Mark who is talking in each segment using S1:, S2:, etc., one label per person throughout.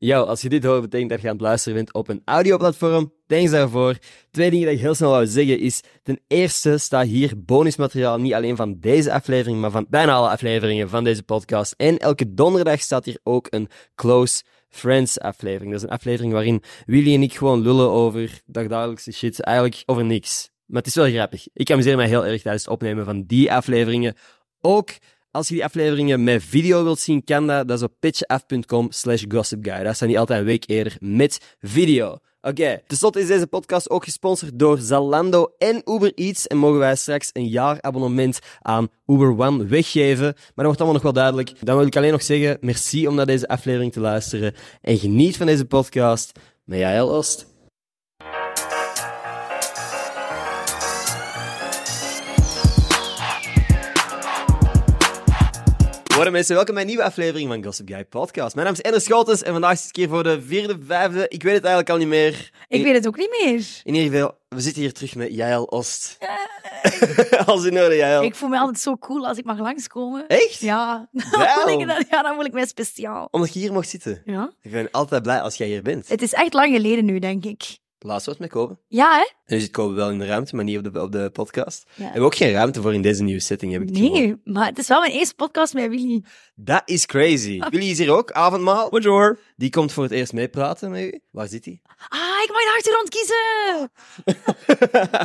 S1: Yo, als je dit hoort, betekent dat je aan het luisteren bent op een audioplatform. Thanks daarvoor. Twee dingen die ik heel snel wou zeggen is, ten eerste staat hier bonusmateriaal niet alleen van deze aflevering, maar van bijna alle afleveringen van deze podcast. En elke donderdag staat hier ook een Close Friends aflevering. Dat is een aflevering waarin Willy en ik gewoon lullen over dagdagelijkse shit, eigenlijk over niks. Maar het is wel grappig. Ik amuseer mij heel erg tijdens het opnemen van die afleveringen. Ook als je die afleveringen met video wilt zien, kan dat. Dat is op pitchaf.com slash gossipguy. Daar staan die altijd een week eerder met video. Oké, ten slotte is deze podcast ook gesponsord door Zalando en Uber Eats. En mogen wij straks een jaar abonnement aan Uber One weggeven. Maar dat wordt allemaal nog wel duidelijk. Dan wil ik alleen nog zeggen, merci om naar deze aflevering te luisteren. En geniet van deze podcast met Jael Oost. Worden mensen, welkom bij een nieuwe aflevering van Gossip Guy Podcast. Mijn naam is Ender Schotens en vandaag is het keer voor de vierde, vijfde, ik weet het eigenlijk al niet meer.
S2: Ik weet het ook niet meer.
S1: In ieder geval, we zitten hier terug met Jael Ost. Als in orde, Jael.
S2: Ik voel me altijd zo cool als ik mag langskomen.
S1: Oh. Echt?
S2: Ja.
S1: Wel.
S2: Dan denk ik dat- ja, dan voel ik mij speciaal.
S1: Omdat je hier mocht zitten.
S2: Ja.
S1: Ik ben altijd blij als jij hier bent.
S2: Het is echt lang geleden nu, denk ik.
S1: Laatst was het met Kobe.
S2: Ja, hè?
S1: En nu zit Kobe wel in de ruimte, maar niet op de, op de podcast.
S2: Ja.
S1: Hebben we ook geen ruimte voor in deze nieuwe setting, heb ik het gevoel.
S2: Nee, maar het is wel mijn eerste podcast met Willy.
S1: Dat is crazy.
S2: Ah.
S1: Willy is hier ook, avondmaal. Bonjour. Die komt voor het eerst meepraten met u. Waar zit hij?
S2: Ah, ik mag de achtergrond kiezen!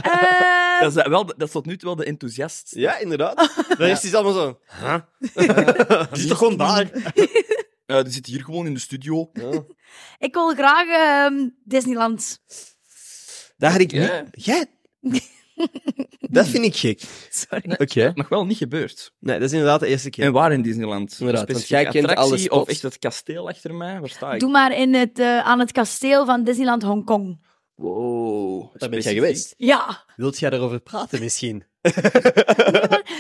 S2: Eh,
S3: Dat is, wel, dat is tot nu toe wel de enthousiast.
S1: Ja, inderdaad. De rest is allemaal zo. Huh? Die zit toch gewoon daar?
S3: Eh, die zit hier gewoon in de studio.
S2: ik wil graag ehm, Disneyland.
S1: Dat had ik
S3: Ja.
S1: niet. Jij? Dat vind ik gek.
S2: Sorry.
S1: Oké.
S3: Nog wel niet gebeurd.
S1: Nee, dat is inderdaad de eerste keer.
S3: En waar in Disneyland?
S1: Inderdaad, want
S3: Specifieke
S1: jij kent alle
S3: attractie
S1: spots.
S3: Of echt het kasteel achter mij? Waar sta ik?
S2: Doe maar in het, eh, aan het kasteel van Disneyland Hongkong.
S3: Wow.
S1: Daar ben jij
S3: specifiek.
S1: geweest.
S2: Ja.
S1: Wilt jij daarover praten misschien?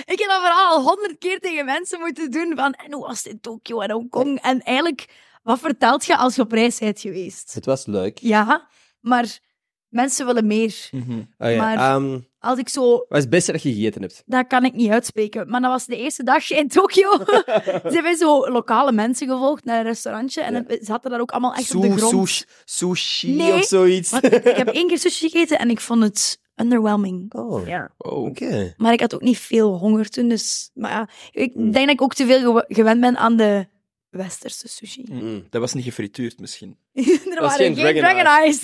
S2: Ik heb dat verhaal al honderd keer tegen mensen moeten doen van en hoe was het in Tokio en Hongkong? En eigenlijk, wat vertelt je als je op reis bent geweest?
S1: Het was leuk.
S2: Ja, maar mensen willen meer.
S3: Mhm.
S1: Oh ja,
S2: Maar-
S1: ehm,
S2: Als ik zo...
S1: wat is het beste dat je gegeten hebt?
S2: Dat kan ik niet uitspreken. Maar dat was de eerste dag in Tokio. Ze hebben zo lokale mensen gevolgd naar een restaurantje. En
S1: Ja.
S2: dan zaten daar ook allemaal Ah, echt
S1: Su-
S2: op de grond.
S1: sushi- sushi
S2: Nee.
S1: of zoiets?
S2: Want ik, ik heb één keer sushi gegeten en ik vond het underwhelming.
S1: Oh,
S3: Wow.
S1: oké.
S2: Maar ik had ook niet veel honger toen, dus... Maar ja, ik
S1: Mm.
S2: denk dat ik ook te veel gew- gewend ben aan de westerse sushi.
S1: Mm.
S3: Dat was niet gefrituurd misschien.
S2: er
S1: was geen
S2: waren geen,
S1: Dragon
S2: Dragon Eyes.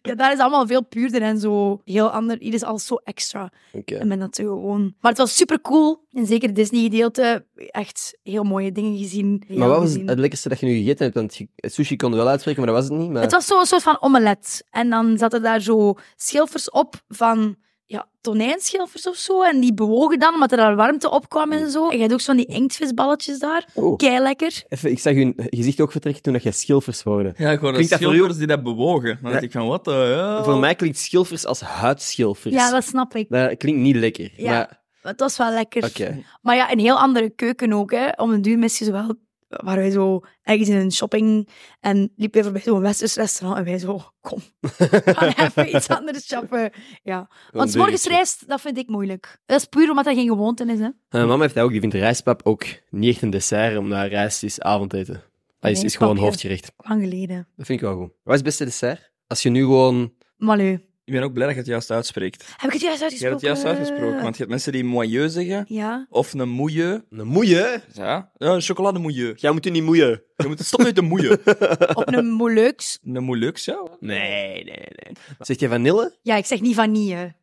S2: ja, daar is allemaal veel puurder en zo. Heel ander. Hier is alles zo extra.
S1: Oké.
S2: En ben dat gewoon. Maar het was super cool. En zeker het Disney-gedeelte. Echt heel mooie dingen gezien.
S1: Maar wat was
S2: Heel
S1: het
S2: gezien.
S1: lekkerste dat je nu gegeten hebt? Want je- sushi kon wel uitspreken, maar dat was het niet. Maar...
S2: Het was zo'n soort van omelet. En dan zaten daar zo schilfers op van ja, tonijnschilfers of zo. En die bewogen dan, omdat er daar warmte op kwam en zo. En je had ook zo'n die inktvisballetjes daar.
S1: Oh.
S2: Kei lekker.
S1: Even, ik zag je gezicht ook vertrekken toen dat je schilfers hoorde.
S3: Ja, gewoon
S1: Klinkt
S3: dat
S1: dat voor
S3: schilders die dat bewogen. Dan dacht ik van, wat
S1: Oh. Voor mij klinkt schilfers als huidschilfers.
S2: Ja, dat snap ik.
S1: Dat klinkt niet lekker.
S2: Ja.
S1: Maar,
S2: Het was wel lekker.
S1: oké.
S2: Maar ja, een heel andere keuken ook. Hè. Om een duur mis je zo wel... Waar wij zo ergens in een shopping... En liep even bij zo'n westers restaurant. En wij zo... Kom, we gaan even iets anders shoppen. Ja.
S1: Wel een
S2: Want 's morgens
S1: deurtje.
S2: rijst, dat vind ik moeilijk. Dat is puur omdat dat geen gewoonte is. Hè.
S1: Mijn mama heeft dat ook, die vindt rijstpap ook niet echt een dessert, omdat rijst is avondeten. Dat is, is gewoon
S2: Rijstpapje.
S1: hoofdgerecht.
S2: Lang geleden.
S1: Dat vind ik wel goed. Wat is het beste dessert? Als je nu gewoon...
S2: Maar nu,
S3: Ik ben ook blij dat je het juist uitspreekt.
S2: heb ik het juist
S3: Je hebt
S2: uitgesproken?
S3: het juist uitgesproken, want je hebt mensen die moyeu zeggen.
S2: Ja.
S3: Of een moeie.
S1: Een moeie?
S3: Ja, ja een chocolademoeie.
S1: Jij moet u niet moeien.
S3: Je moet stoppen met de moeie.
S2: Op een moeilijks.
S3: Een moeilijks, ja.
S1: Nee, nee, nee. Zeg jij vanille?
S2: Ja, ik zeg niet vanille.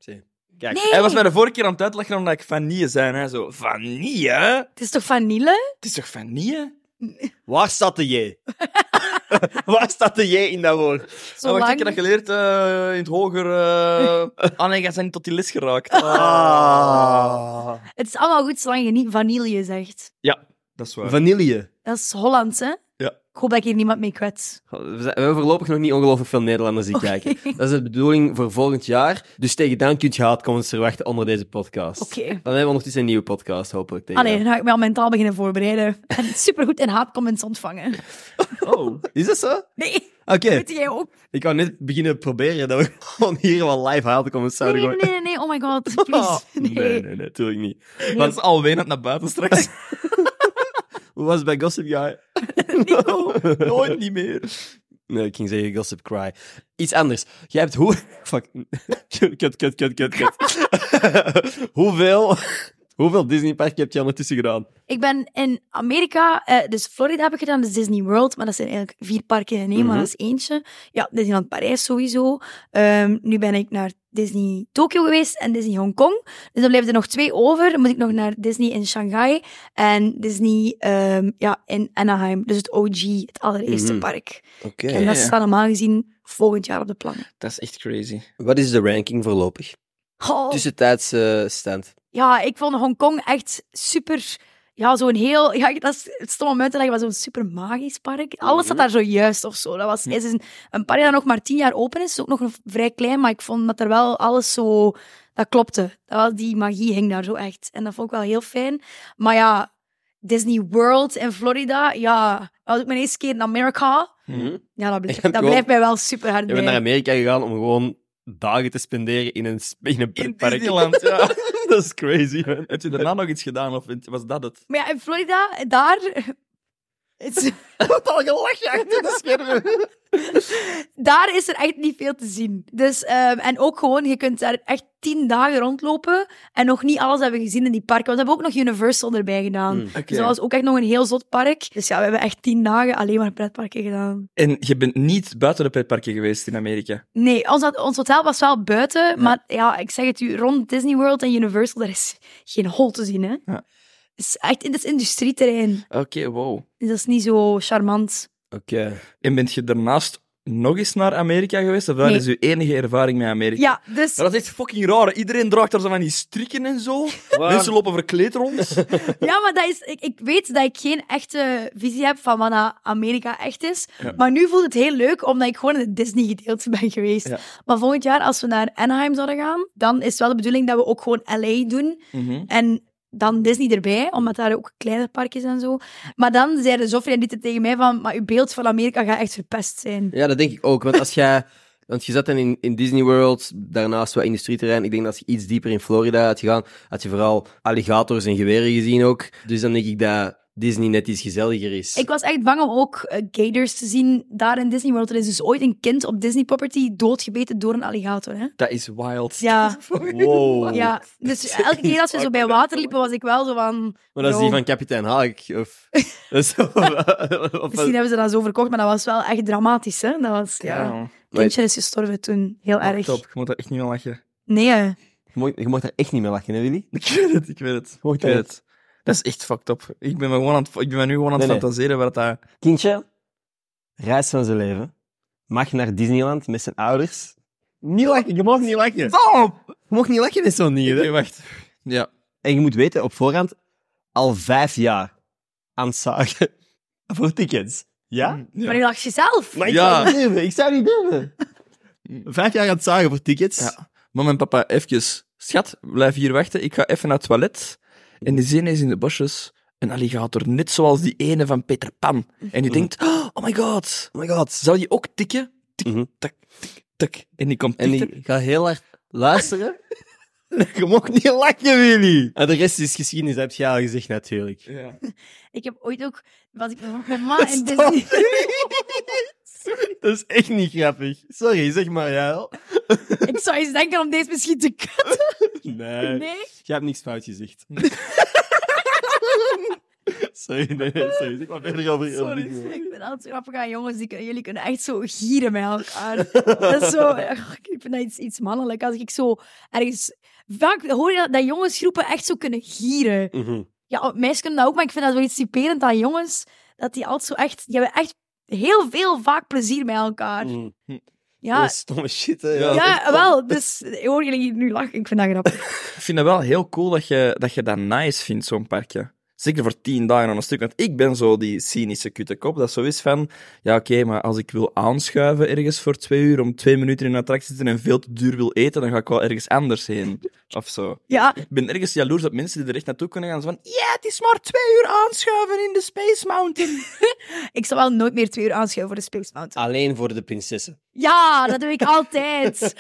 S1: Kijk.
S2: Nee,
S3: Hij was mij de vorige keer aan het uitlachen omdat ik vanille zei. Hè. Zo, vanille?
S2: het is toch vanille?
S3: Het is toch vanille?
S1: Waar staat de J? Waar staat de J in dat woord?
S3: Oh,
S2: Zolang...
S3: wacht, ik heb dat geleerd eh, in het hoger. eh Ah nee, jij bent niet tot die les geraakt.
S1: Ah.
S2: Het is allemaal goed zolang je niet vanille zegt.
S3: Dat is waar.
S1: Vanille.
S2: Dat is Hollands, hè?
S3: Ja.
S2: hoop dat ik hier niemand mee kwets.
S1: We zijn- we hebben voorlopig nog niet ongelooflijk veel Nederlanders die kijken. Dat is de bedoeling voor volgend jaar. Dus tegen dan kunt je haatcomments verwachten onder deze podcast.
S2: Oké.
S1: Dan hebben we ondertussen een nieuwe podcast, hopelijk. Tegen
S2: Allee, Ah, dan ga ik me al mentaal beginnen voorbereiden. En supergoed in haatcomments ontvangen.
S3: Oh.
S1: Is dat zo? Oké.
S2: Nee, weet jij ook?
S1: Ik kan net beginnen proberen dat we gewoon hier wel live haatcomments
S2: Nee,
S1: zouden
S2: nee,
S1: gooien. Ah.
S2: nee, nee, oh my god, please. Nee.
S1: nee, nee, natuurlijk niet.
S3: Dat is al wenend naar buiten straks.
S1: Hoe was het bij Gossip Guy?
S3: Nooit niet meer.
S1: Nee, ik ging zeggen Gossip Cry. Iets anders. Jij hebt hoe... Fuck. Kut, kut, kut, kut, kut. kut. hoeveel... Hoeveel Disneypark heb je ondertussen gedaan?
S2: Ik ben in Amerika, eh, dus Florida heb ik gedaan, dus Disney World, maar dat zijn eigenlijk vier parken in één, maar dat is eentje. Ja, Disneyland Parijs sowieso. Ehm, nu ben ik naar Disney Tokyo geweest en Disney Hongkong. Dus dan blijven er nog twee over. Dan moet ik nog naar Disney in Shanghai en Disney ehm, ja, in Anaheim. Dus het OG, het allereerste
S1: Mhm.
S2: park.
S1: Oké.
S2: En dat
S3: ja.
S2: staat normaal gezien volgend jaar op de plannen.
S3: Dat is echt crazy.
S1: Wat is de ranking voorlopig?
S2: Oh.
S1: Tussentijds eh, stand.
S2: Ja, ik vond Hongkong echt super. Ja, zo'n heel. Ja, dat is het stom om uit te leggen, maar zo'n super magisch park.
S3: Mhm.
S2: Alles zat daar zojuist of zo. Dat was, is een, een park dat nog maar tien jaar open is. Is ook nog een- vrij klein, maar ik vond dat er wel alles zo. Dat klopte. Dat was, die magie hing daar zo echt. En dat vond ik wel heel fijn. Maar ja, Disney World in Florida. Ja, dat was ook mijn eerste keer in Amerika.
S3: Mhm.
S2: Ja, dat, blijft-
S1: hebt
S2: dat
S1: gewoon-
S2: blijft mij wel super hard
S1: Je bent
S2: bij.
S1: naar Amerika gegaan om gewoon dagen te spenderen in een, sp- in een
S3: In
S1: pretpark.
S3: Disneyland, ja.
S1: dat is crazy, man.
S3: Heb je daarna nog iets gedaan of was dat het?
S2: Maar ja, in Florida, daar. It's-
S1: Wat al gelachen achter de schermen.
S2: daar is er echt niet veel te zien. Dus, ehm, en ook gewoon, je kunt daar echt tien dagen rondlopen en nog niet alles hebben gezien in die parken. Want we hebben ook nog Universal erbij gedaan. Dus dat was ook echt nog een heel zot park. Dus ja, we hebben echt tien dagen alleen maar pretparken gedaan.
S3: En je bent niet buiten de pretparken geweest in Amerika.
S2: Nee, ons, ons hotel was wel buiten, maar ja, ik zeg het u, rond Disney World en Universal, daar is geen hol te zien, hè.
S3: Ja.
S2: Het is echt, het is industrieterrein.
S3: Oké, wow.
S2: Dus dat is niet zo charmant.
S1: Oké.
S3: En bent je daarnaast nog eens naar Amerika geweest? Of dat
S2: Nee.
S3: is uw enige ervaring met Amerika?
S2: Ja, dus...
S3: Dat is echt fucking raar. Iedereen draagt daar zo van die strikken en zo. Mensen lopen verkleed rond.
S2: Ja, maar dat is, ik, ik weet dat ik geen echte visie heb van wat dat Amerika echt is.
S3: Ja.
S2: Maar nu voelt het heel leuk, omdat ik gewoon in het Disney-gedeelte ben geweest.
S3: Ja.
S2: Maar volgend jaar, als we naar Anaheim zouden gaan, dan is het wel de bedoeling dat we ook gewoon LA doen.
S3: Mhm.
S2: En dan Disney erbij, omdat daar ook kleiner park is en zo. Maar dan zeiden Zoffrey en Dieter tegen mij van, maar uw beeld van Amerika gaat echt verpest zijn.
S1: Ja, dat denk ik ook. Want als jij... Want je zat dan in, in Disney World, daarnaast wat industrieterrein. Ik denk dat als je iets dieper in Florida had gegaan, had je vooral alligators en geweren gezien ook. Dus dan denk ik dat Disney net iets gezelliger is.
S2: Ik was echt bang om ook eh, gators te zien daar in Disney World. Er is dus ooit een kind op Disney Property doodgebeten door een alligator, hè?
S3: Dat is wild.
S2: Ja.
S1: Wow.
S2: Ja, dus elke keer als we zo bij water liepen, was ik wel zo van...
S1: Maar dat is
S2: yo,
S1: die van Kapitein Haak. Of, dat is- of- of-
S2: Misschien hebben ze dat zo verkocht, maar dat was wel echt dramatisch, hè. Dat was... Ja.
S3: Ja.
S2: Kindje is gestorven toen, heel erg.
S3: Top, je moet daar echt niet aan lachen.
S2: Nee, hè.
S1: Je mocht- je mocht daar echt niet mee lachen, hè, Willy?
S3: Ik weet het, ik weet het.
S1: Hoort
S3: ik weet
S1: dat?
S3: het. Dat is echt fucked up. Ik ben me, gewoon aan het, ik ben me nu gewoon aan het
S1: Nee, nee.
S3: fantaseren waar dat...
S1: Kindje, reis van zijn leven. Mag naar Disneyland met zijn ouders. Niet lachen, je mag niet lachen. Je
S3: Stop!
S1: mag niet lachen met zo'n
S3: Oké,
S1: dingen.
S3: wacht. Ja.
S1: En je moet weten, op voorhand, al vijf jaar aan het zagen voor tickets. Ja?
S2: Maar
S3: ja.
S2: nu lag je zelf.
S1: Maar ik
S3: Ja.
S1: zou het niet durven, ik zou het niet durven. Vijf jaar aan het zagen voor tickets.
S3: Ja. Mama en papa, even. Schat, blijf hier wachten. Ik ga even naar het toilet. En die zin is in de bosjes een alligator. Net zoals die ene van Peter Pan. En die denkt, oh my god.
S1: Oh my god.
S3: Zou die ook tikken? Tik,
S1: Mhm.
S3: tak, tik, tak. En die komt
S1: En
S3: en
S1: die gaat heel hard luisteren. je mocht niet lachen, Willy. En Ah, de rest is geschiedenis, heb je al gezegd, natuurlijk.
S3: Ja.
S2: Ik heb ooit ook... Was ik met mijn ma
S1: dus
S2: in Disney...
S1: Dat is echt niet grappig. Sorry, zeg maar ja.
S2: ik zou eens denken om deze misschien te kutten.
S1: Nee.
S2: Nee?
S1: Je hebt niks fout gezegd. sorry, nee, nee, sorry. Zeg maar verder over. Sorry.
S2: Ik ben altijd grappig aan jongens. Die kunnen, jullie kunnen echt zo gieren met elkaar. Dat is zo... ach, ik vind dat iets, iets mannelijk. Als ik zo ergens... Vaak hoor je dat, dat jongensgroepen echt zo kunnen gieren.
S1: Mhm.
S2: Ja, oh, meisjes kunnen dat ook, maar ik vind dat wel iets typerend aan jongens. Dat die altijd zo echt... Die hebben echt heel veel vaak plezier met elkaar.
S1: Ah, Ja.
S2: Ja,
S1: stomme shit, hè.
S3: Ja.
S1: Mm. Mhm. Dus, Ja.
S2: ja wel. Dus ik hoor jullie hier nu lachen. Ik vind dat grappig.
S3: Ik vind het wel heel cool dat je dat, je dat nice vindt, zo'n parkje. Zeker voor tien dagen aan een stuk. Want ik ben zo die cynische kutte kop. Dat zo is van, ja oké, maar als ik wil aanschuiven ergens voor twee uur, om twee minuten in een attractie te zitten en veel te duur wil eten, dan ga ik wel ergens anders heen. Of zo.
S2: Ja,
S3: Ik ben ergens jaloers op mensen die er echt naartoe kunnen gaan. Zo van, ja, het is maar twee uur aanschuiven in de Space Mountain.
S2: ik zal wel nooit meer twee uur aanschuiven voor de Space Mountain.
S1: Alleen voor de prinsessen.
S2: Ja, dat doe ik altijd.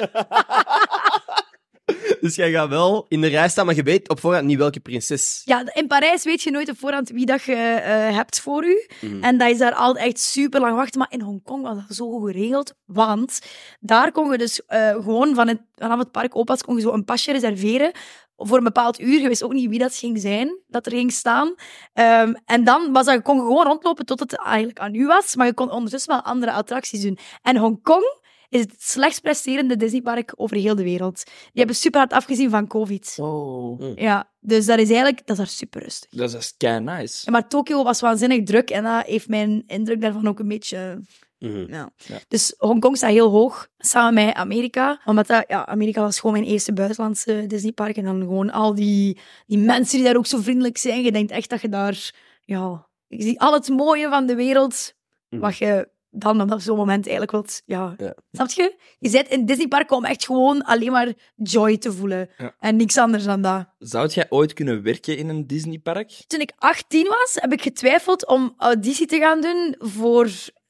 S1: Dus jij gaat wel in de rij staan, maar je weet op voorhand niet welke prinses.
S2: Ja, in Parijs weet je nooit op voorhand wie dat je eh, hebt voor u. En dat is daar al echt super lang wachten. Maar in Hongkong was dat zo goed geregeld. Want daar kon je dus eh, gewoon van het, vanaf het park Opa's kon je zo een pasje reserveren. Voor een bepaald uur. Je wist ook niet wie dat ging zijn, dat er ging staan. Ehm, en dan was dat, je kon je gewoon rondlopen tot het eigenlijk aan u was. Maar je kon ondertussen wel andere attracties doen. En Hongkong is het slechts presterende Disneypark over heel de wereld. Die hebben super hard afgezien van COVID.
S3: Oh.
S2: Ja, dus dat is eigenlijk dat is daar super rustig.
S3: Dat is echt kei nice.
S2: Ja, Maar Tokio was waanzinnig druk en dat heeft mijn indruk daarvan ook een beetje.
S1: Mhm.
S2: Ja.
S3: Ja.
S2: Dus Hongkong staat heel hoog samen met Amerika. Omdat dat, ja, Amerika was gewoon mijn eerste buitenlandse Disneypark. En dan gewoon al die, die mensen die daar ook zo vriendelijk zijn. Je denkt echt dat je daar. Ja, je ziet al het mooie van de wereld.
S1: Mhm.
S2: Wat je dan op zo'n moment eigenlijk wilt. Ja.
S1: Ja.
S2: Snap je? Je zit in het Disneypark om echt gewoon alleen maar joy te voelen.
S3: Ja.
S2: En niks anders dan dat.
S3: Zou jij ooit kunnen werken in een Disneypark?
S2: Toen ik 18 was, heb ik getwijfeld om auditie te gaan doen voor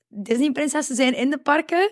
S2: Disney-prinses te zijn in de parken.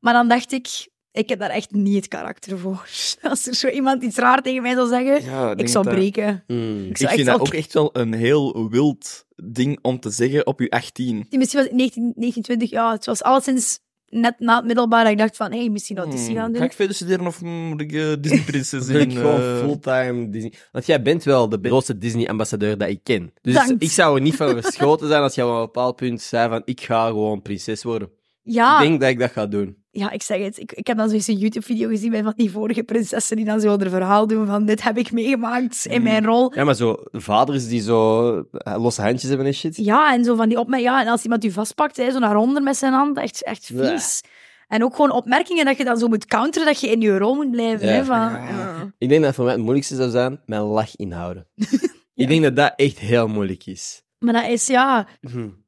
S2: Maar dan dacht ik, ik heb daar echt niet het karakter voor. Als er zo iemand iets raar tegen mij zou zeggen,
S3: Ja,
S2: ik zou breken.
S1: Mhm.
S2: Ik
S3: Ik
S2: zou
S3: vind
S2: echt
S3: dat
S2: al-
S3: ook echt wel een heel wild ding om te zeggen op je 18.
S2: Misschien was ik 19, 1920, ja, het was alleszins net na het middelbaar dat ik dacht van, hé, hey, misschien auditie gaan
S3: Hmm,
S2: doen.
S3: Ga ik verder studeren of moet ik eh, Disneyprinses
S1: Dus ik
S3: zijn?
S1: gewoon
S3: Eh,
S1: fulltime Disney. Want jij bent wel de grootste Disney-ambassadeur dat ik ken. Dus
S2: Dank.
S1: ik zou er niet van verschoten zijn als jij op een bepaald punt zei van ik ga gewoon prinses worden.
S2: Ja,
S1: Ik denk dat ik dat ga doen.
S2: ja, ik zeg het. Ik, ik heb dan zoiets een YouTube-video gezien met van die vorige prinsessen die dan zo een verhaal doen van, dit heb ik meegemaakt
S3: Hmm.
S2: in mijn rol.
S1: Ja, maar zo vaders die zo eh, losse handjes hebben en shit.
S2: Ja, en zo van die opmerkingen. Ja, en als iemand u vastpakt, hè, zo naar onder met zijn hand, echt, echt vies. En ook gewoon opmerkingen dat je dan zo moet counteren, dat je in je rol moet blijven.
S1: Ja.
S2: Hè, van,
S1: Ik denk dat voor mij het moeilijkste zou zijn mijn lach inhouden. Ik denk dat dat echt heel moeilijk is.
S2: Maar dat is, ja...
S1: Hmm.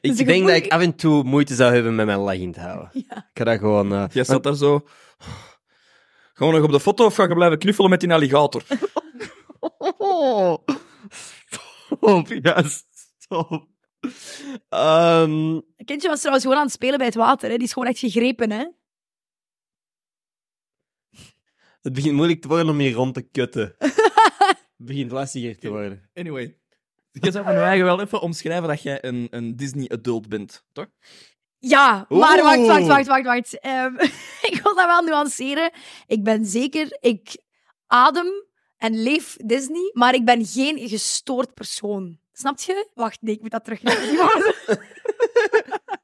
S1: Ik
S2: is een
S1: denk dat
S2: gevoel-
S1: ik af en toe moeite zou hebben met mijn lach in te houden.
S2: ja.
S1: Ik ga dat gewoon... eh,
S3: Jij staat daar zo... Gewoon nog op de foto of ga je blijven knuffelen met die alligator?
S1: Oh. Stop, ja, stop. Ehm,
S2: Een kindje was trouwens gewoon aan het spelen bij het water. Hè. Die is gewoon echt gegrepen, hè.
S1: het begint moeilijk te worden om hier rond te kutten. het begint lastiger te worden.
S3: Anyway. Je zou van mij wel even omschrijven dat jij een, een Disney-adult bent, toch?
S2: Ja, maar
S1: Oeh.
S2: wacht, wacht, wacht, wacht, wacht. Ehm, ik wil dat wel nuanceren. Ik ben zeker... Ik adem en leef Disney, maar ik ben geen gestoord persoon. Snap je? Wacht, nee, ik moet dat terug.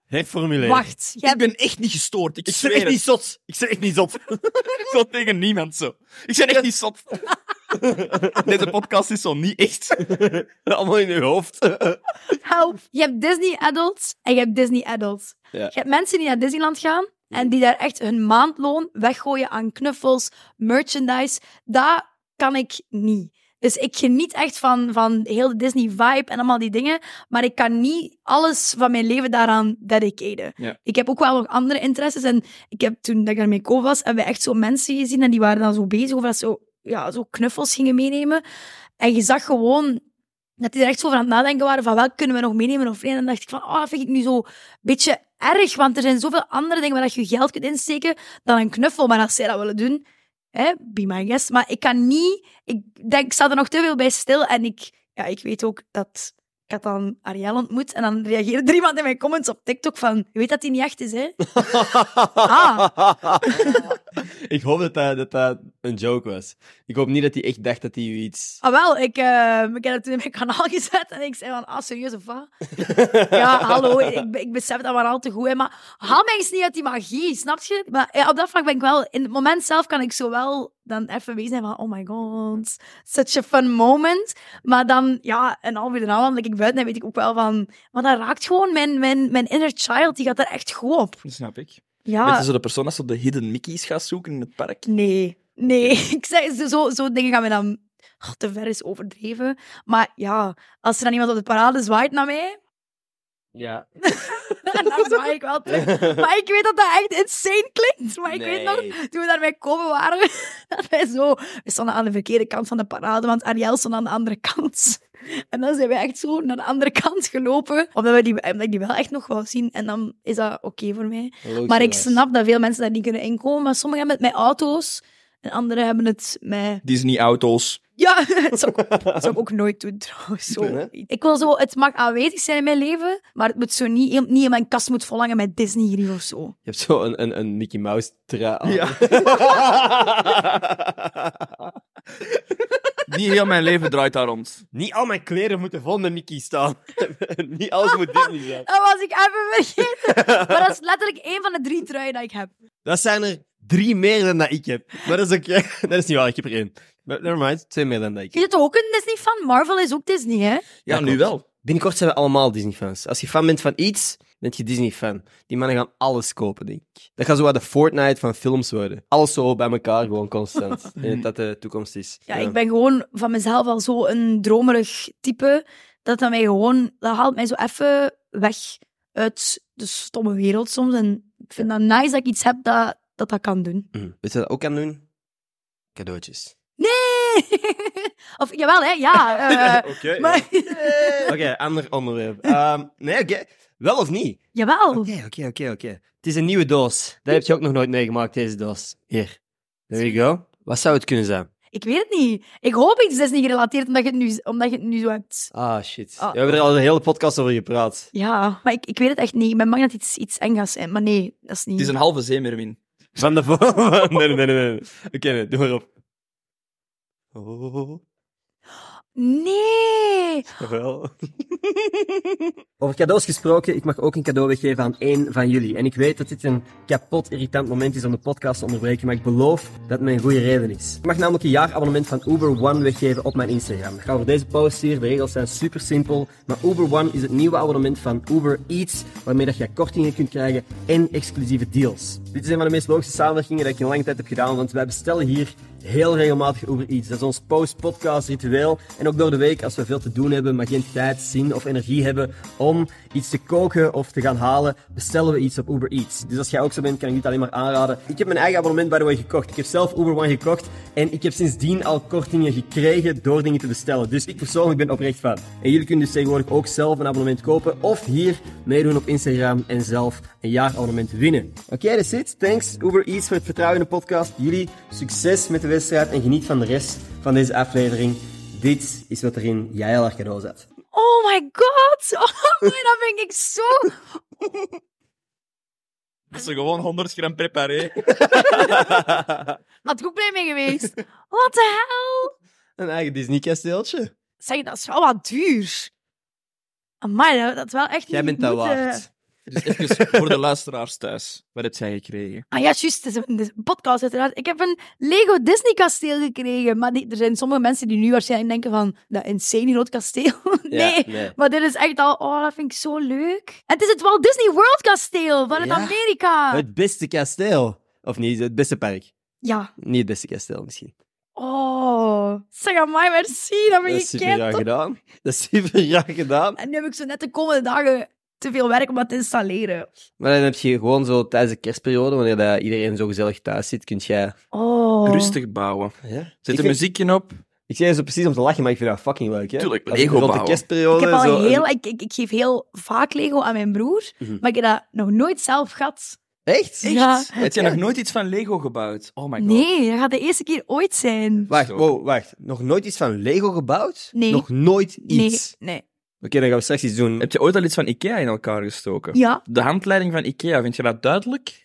S1: Herformuleren.
S2: Wacht. jij
S3: Ik ben echt niet gestoord, ik,
S1: Ik ben
S3: zweer
S1: echt
S3: het.
S1: niet zot. Ik ben echt niet zot.
S3: zo tegen niemand zo. Ik ben echt niet zot. Deze podcast is zo niet echt.
S1: Allemaal in je hoofd.
S2: Help. Je hebt Disney adults en je hebt Disney adults.
S1: Ja.
S2: Je hebt mensen die naar Disneyland gaan en die daar echt hun maandloon weggooien aan knuffels, merchandise. Dat kan ik niet. Dus ik geniet echt van, van heel de Disney vibe en allemaal die dingen. Maar ik kan niet alles van mijn leven daaraan dedicaten.
S3: Ja.
S2: Ik heb ook wel nog andere interesses. En ik heb toen dat ik daarmee koop was, hebben we echt zo mensen gezien. En die waren dan zo bezig over dat ze zo, ja, zo knuffels gingen meenemen. En je zag gewoon dat die er echt zo over aan het nadenken waren van welk kunnen we nog meenemen of niet. En dan dacht ik van, oh, dat vind ik nu zo een beetje erg, want er zijn zoveel andere dingen waar dat je je geld kunt insteken dan een knuffel. Maar als zij dat willen doen, hè, be my guest. Maar ik kan niet, ik denk, ik sta er nog te veel bij stil en ik, ja, ik weet ook dat ik had dan Ariel ontmoet en dan reageerde er iemand in mijn comments op TikTok van, je weet dat die niet echt is, hè? Ah.
S1: ik hoop dat dat, dat dat een joke was. Ik hoop niet dat hij echt dacht dat hij u iets...
S2: Ah wel, ik, eh, ik heb dat toen in mijn kanaal gezet en ik zei van, ah, serieus of wat? ja, hallo, ik, ik besef dat maar al te goed. Hè, maar haal mij eens niet uit die magie, snap je? Maar ja, op dat vlak ben ik wel, in het moment zelf kan ik zo wel dan even wezen van, oh my god, such a fun moment. Maar dan, ja, een half uur daarna wandel ik buiten en weet ik ook wel van, maar dat raakt gewoon mijn, mijn, mijn inner child, die gaat er echt goed op.
S3: snap ik.
S2: Ja.
S3: Met zo de persoon als op de hidden Mickey's gaat zoeken in het park.
S2: Nee, nee. Ik zeg, zo, zo dingen gaan we dan "Ah, te ver is overdreven. Maar ja, als er dan iemand op de parade zwaait naar mij,
S1: Ja.
S2: dan zwaai ik wel terug. Maar ik weet dat dat echt insane klinkt. Maar ik weet nog, toen we daarmee komen waren, dat wij zo... We stonden aan de verkeerde kant van de parade, want Ariel stond aan de andere kant. En dan zijn we echt zo naar de andere kant gelopen, omdat, we die, omdat ik die wel echt nog wou zien. En dan is dat oké voor mij. Maar ik snap dat veel mensen daar niet kunnen inkomen. Maar sommigen hebben het met auto's, en anderen hebben het met
S3: Disney-auto's.
S2: ja, dat zou, ik, dat zou ik ook nooit doen trouwens. Zo.
S1: Nee, hè?
S2: Ik wil zo, het mag aanwezig zijn in mijn leven, maar het moet zo niet, niet in mijn kast moet verlangen met Disney hier of zo.
S1: Je hebt zo een, een, een Mickey Mouse trui aan.
S3: Ja. Niet heel mijn leven draait daar rond.
S1: Niet al mijn kleren moeten vol met Mickey staan. Niet alles moet Disney zijn.
S2: Dat was ik even vergeten. Maar dat is letterlijk één van de drie truien die ik heb.
S1: Dat zijn er drie meer dan dat ik heb. Maar dat is oké. Dat is niet waar, ik heb er één. Maar nevermind, twee meer dan dat ik
S2: Je
S1: heb.
S2: bent toch ook een Disney-fan? Marvel is ook Disney, hè?
S3: Ja,
S1: Dat
S3: nu
S1: klopt.
S3: wel.
S1: Binnenkort zijn we allemaal Disney-fans. Als je fan bent van iets, bent je Disney-fan. Die mannen gaan alles kopen, denk ik. Dat gaat zo wat de Fortnite van films worden. Alles zo bij elkaar, gewoon constant. Ik denk dat dat de toekomst is.
S2: Ja, ik ben gewoon van mezelf al zo een dromerig type, dat dat mij gewoon, dat haalt mij zo even weg uit de stomme wereld soms. En ik vind dat nice dat ik iets heb dat dat, dat kan doen.
S1: Mm. Weet je wat ik ook kan doen? Cadeautjes.
S2: Nee! Of, jawel, hè? Ja. eh,
S1: Oké.
S2: maar,
S1: Oké, ander onderwerp. Ehm, nee, oké. Wel of niet?
S2: jawel.
S1: Oké, oké, oké, oké. Het is een nieuwe doos. Dat heb je ook nog nooit meegemaakt, deze doos. Hier. There you go. Wat zou het kunnen zijn?
S2: Ik weet het niet. Ik hoop iets is niet gerelateerd omdat je het nu, omdat je het nu zo hebt.
S1: Ah, shit.
S2: Ah.
S1: We hebben er al een hele podcast over gepraat.
S2: Ja, maar ik, ik weet het echt niet. Ik ben bang dat iets, iets eng gaat zijn. Maar nee, dat is niet.
S3: Het is een halve zeemermin.
S1: Van de volgende. Nee, nee, nee, nee. nee. Oké, nee, doe maar op. Oh,
S2: Nee!
S1: jawel. Over cadeaus gesproken, ik mag ook een cadeau weggeven aan één van jullie. En ik weet dat dit een kapot irritant moment is om de podcast te onderbreken, maar ik beloof dat het mijn goede reden is. Ik mag namelijk een jaarabonnement van Uber One weggeven op mijn Instagram. Ik ga voor deze post hier, de regels zijn super simpel. Maar Uber One is het nieuwe abonnement van Uber Eats, waarmee dat je kortingen kunt krijgen en exclusieve deals. Dit is een van de meest logische samenwerkingen die ik in lange tijd heb gedaan, want wij bestellen hier heel regelmatig Uber Eats. Dat is ons post-podcast ritueel. En ook door de week, als we veel te doen hebben, maar geen tijd, zin of energie hebben om iets te koken of te gaan halen, bestellen we iets op Uber Eats. Dus als jij ook zo bent, kan ik dit alleen maar aanraden. Ik heb mijn eigen abonnement by the way gekocht. Ik heb zelf Uber One gekocht en ik heb sindsdien al kortingen gekregen door dingen te bestellen. Dus ik persoonlijk ben oprecht fan. En jullie kunnen dus tegenwoordig ook zelf een abonnement kopen of hier meedoen op Instagram en zelf een jaarabonnement winnen. Oké, dat is het. Thanks Uber Eats voor het vertrouwen in de podcast. Jullie succes met de wedstrijd en geniet van de rest van deze aflevering. Dit is wat erin jij al haar cadeau zat.
S2: Oh my god! Oh my, dat vind ik zo...
S3: Dat ze gewoon 100 gram preparé.
S2: Had ik ook blij mee geweest. What the hell?
S1: Een eigen Disney-kasteeltje.
S2: Zeg, dat is wel wat duur. Amai, dat, dat is wel echt
S1: Jij
S2: niet
S1: bent dat
S2: moeten-
S1: waard.
S3: Dus even voor de luisteraars thuis. Wat heb jij gekregen?
S2: Ah ja, juist, het is een, het is een podcast uiteraard. Ik heb een Lego Disney kasteel gekregen. Maar die- er zijn sommige mensen die nu waarschijnlijk denken van, dat insane rood kasteel. nee. Maar dit is echt al, oh, dat vind ik zo leuk. En het is het Walt Disney World kasteel vanuit
S1: Ja.
S2: Amerika.
S1: Het beste kasteel. Of niet, het beste park.
S2: Ja.
S1: Niet het beste kasteel misschien.
S2: Oh. Zeg aan mij, merci, dat ben
S1: dat
S2: je
S1: is super graag
S2: kind.
S1: gedaan. Dat is super graag gedaan.
S2: En nu heb ik zo net de komende dagen te veel werk om dat te installeren.
S1: Maar dan heb je gewoon zo tijdens de kerstperiode, wanneer dat iedereen zo gezellig thuis zit, kun jij...
S2: Oh.
S3: Rustig bouwen.
S1: Ja?
S3: Zet
S1: Ik,
S3: een
S1: vind-
S3: muziekje op.
S1: ik zei zo precies om te lachen, maar ik vind dat fucking leuk. Hè?
S3: Tuurlijk,
S1: Als ik
S3: Lego
S1: Rond de
S3: bouwen.
S2: Ik,
S1: kerstperiode
S2: heb al
S1: zo...
S2: heel, ik, ik, ik geef heel vaak Lego aan mijn broer,
S1: Mhm.
S2: maar ik heb dat nog nooit zelf gehad.
S1: Echt?
S2: Echt? Ja.
S3: Heb je nog nooit iets van Lego gebouwd? Oh my god.
S2: Nee, dat gaat de eerste keer ooit zijn.
S1: Wacht,
S3: Zo.
S1: wow, wacht. Nog nooit iets van Lego gebouwd?
S2: Nee.
S1: Nog nooit
S2: Nee,
S1: iets?
S2: nee.
S1: Oké, dan gaan we straks iets doen.
S3: Heb je ooit al iets van Ikea in elkaar gestoken?
S2: Ja,
S3: De handleiding van Ikea, vind je dat duidelijk?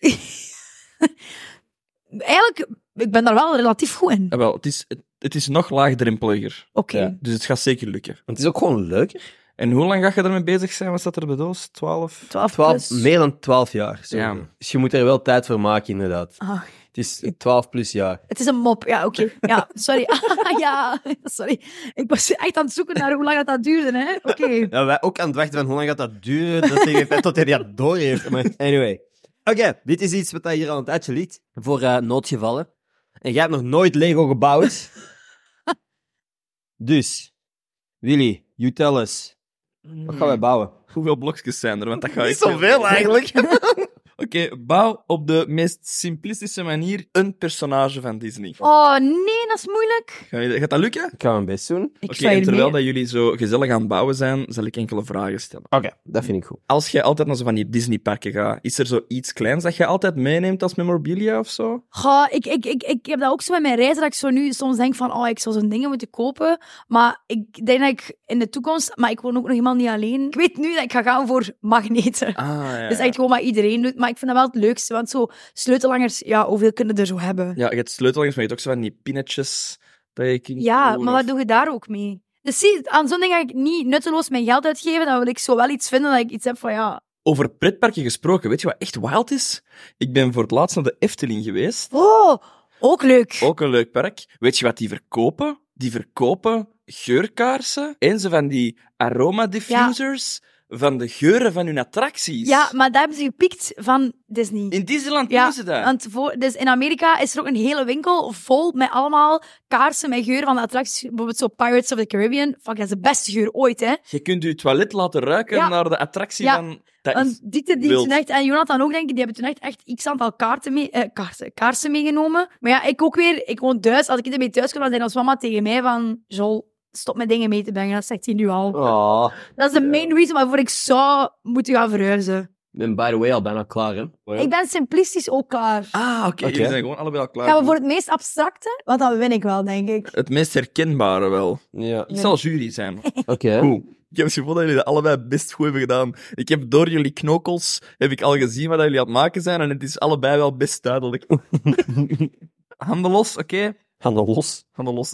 S2: eigenlijk, ik ben daar wel relatief goed in.
S3: Ah, wel, het is, het, het is nog laagdrempeliger.
S2: Oké.
S1: Ja.
S3: Dus het gaat zeker lukken.
S1: Want het is ook gewoon leuker.
S3: En hoe lang ga je ermee bezig zijn? Wat staat er bij doos? 12?
S2: 12
S1: 12,
S2: plus.
S1: meer dan 12 jaar. zo.
S3: Ja.
S1: Dus je moet er wel tijd voor maken, inderdaad.
S2: Ah,
S1: Het is 12 plus jaar.
S2: het is een mop. Ja, oké. Ja, sorry. Ah, ja, sorry. Ik was echt aan het zoeken naar hoe lang dat, dat duurde, hè. Oké.
S1: Ja, wij ook aan het wachten van hoe lang gaat dat duren, dat hij tot hij dat door heeft. Maar anyway. Oké, dit is iets wat hij hier al een tijdje liet. Voor eh, noodgevallen. En jij hebt nog nooit Lego gebouwd. Dus, Willy, you tell us. Wat gaan wij bouwen?
S3: Hoeveel blokjes zijn er? Want dat ga ik...
S1: Niet zoveel eigenlijk.
S3: Oké, bouw op de meest simplistische manier een personage van Disney.
S2: Oh nee, dat is moeilijk.
S3: Ga je- Gaat dat lukken?
S1: Ik ga mijn best doen.
S2: Ik
S3: Oké,
S2: zou
S3: en
S2: hier
S3: terwijl
S2: meer-
S3: dat jullie zo gezellig aan het bouwen zijn, zal ik enkele vragen stellen.
S1: Oké, dat vind ik goed.
S3: Als jij altijd naar zo van die Disney-parken gaat, is er zoiets kleins dat jij altijd meeneemt als memorabilia of zo?
S2: Goh, ik, ik, ik, ik heb dat ook zo met mijn reizen, dat ik zo nu soms denk van, oh, ik zou zo'n dingen moeten kopen. Maar ik denk dat ik in de toekomst, maar ik woon ook nog helemaal niet alleen. Ik weet nu dat ik ga gaan voor magneten.
S3: Ah, ja.
S2: Dat is echt gewoon wat iedereen doet. Maar ik vind dat wel het leukste, want zo sleutelangers, ja, hoeveel kunnen er zo hebben?
S3: Ja, je hebt sleutelangers, maar je hebt ook zo van die pinnetjes dat je kunt
S2: Ja,
S3: doen,
S2: maar
S3: of-
S2: wat doe je daar ook mee? Dus zie, aan zo'n ding ga ik niet nutteloos mijn geld uitgeven. Dan wil ik zo wel iets vinden dat ik iets heb van, ja...
S3: Over pretparken gesproken, weet je wat echt wild is? Ik ben voor het laatst naar de Efteling geweest.
S2: Oh, ook leuk.
S3: Ook een leuk park. Weet je wat die verkopen? Die verkopen geurkaarsen en ze van die aromadifusers van de geuren van hun attracties.
S2: Ja, maar daar hebben ze gepikt van Disney.
S3: In Disneyland
S2: Ja,
S3: doen ze dat.
S2: Want voor, dus in Amerika is er ook een hele winkel vol met allemaal kaarsen met geuren van de attracties. Bijvoorbeeld zo Pirates of the Caribbean. Fuck, dat is de beste geur ooit, hè.
S3: Je kunt je toilet laten ruiken
S2: Ja.
S3: naar de attractie
S2: Ja.
S3: van... Dat is...
S2: Want Dieter die
S3: wild.
S2: toen echt, en Jonathan ook, denk ik, die hebben toen echt, echt x aantal kaarten mee, eh, kaarten, kaarsen meegenomen. Maar ja, ik ook weer, ik woon thuis. Als ik ermee thuis kwam, dan zei ons mama tegen mij van... Jol, stop met dingen mee te brengen. Dat zegt hij nu al.
S1: Oh,
S2: Dat is de main reason waarvoor ik zou moeten gaan verhuizen.
S1: ik ben by the way al bijna klaar, hè?
S2: Ik ben simplistisch ook klaar.
S3: Ah, oké.
S1: Oké.
S3: Jullie zijn gewoon allebei al klaar.
S2: Gaan we voor het meest abstracte? Want dan win ik wel, denk ik.
S3: Het meest herkenbare wel.
S1: Ja.
S3: Ik zal jury zijn.
S1: Oké.
S3: Oeh. Ik heb het gevoel dat jullie dat allebei best goed hebben gedaan. Ik heb door jullie knokkels heb ik al gezien wat jullie aan het maken zijn en het is allebei wel best duidelijk. Handen los, oké?
S1: Handen los.
S3: Handen los.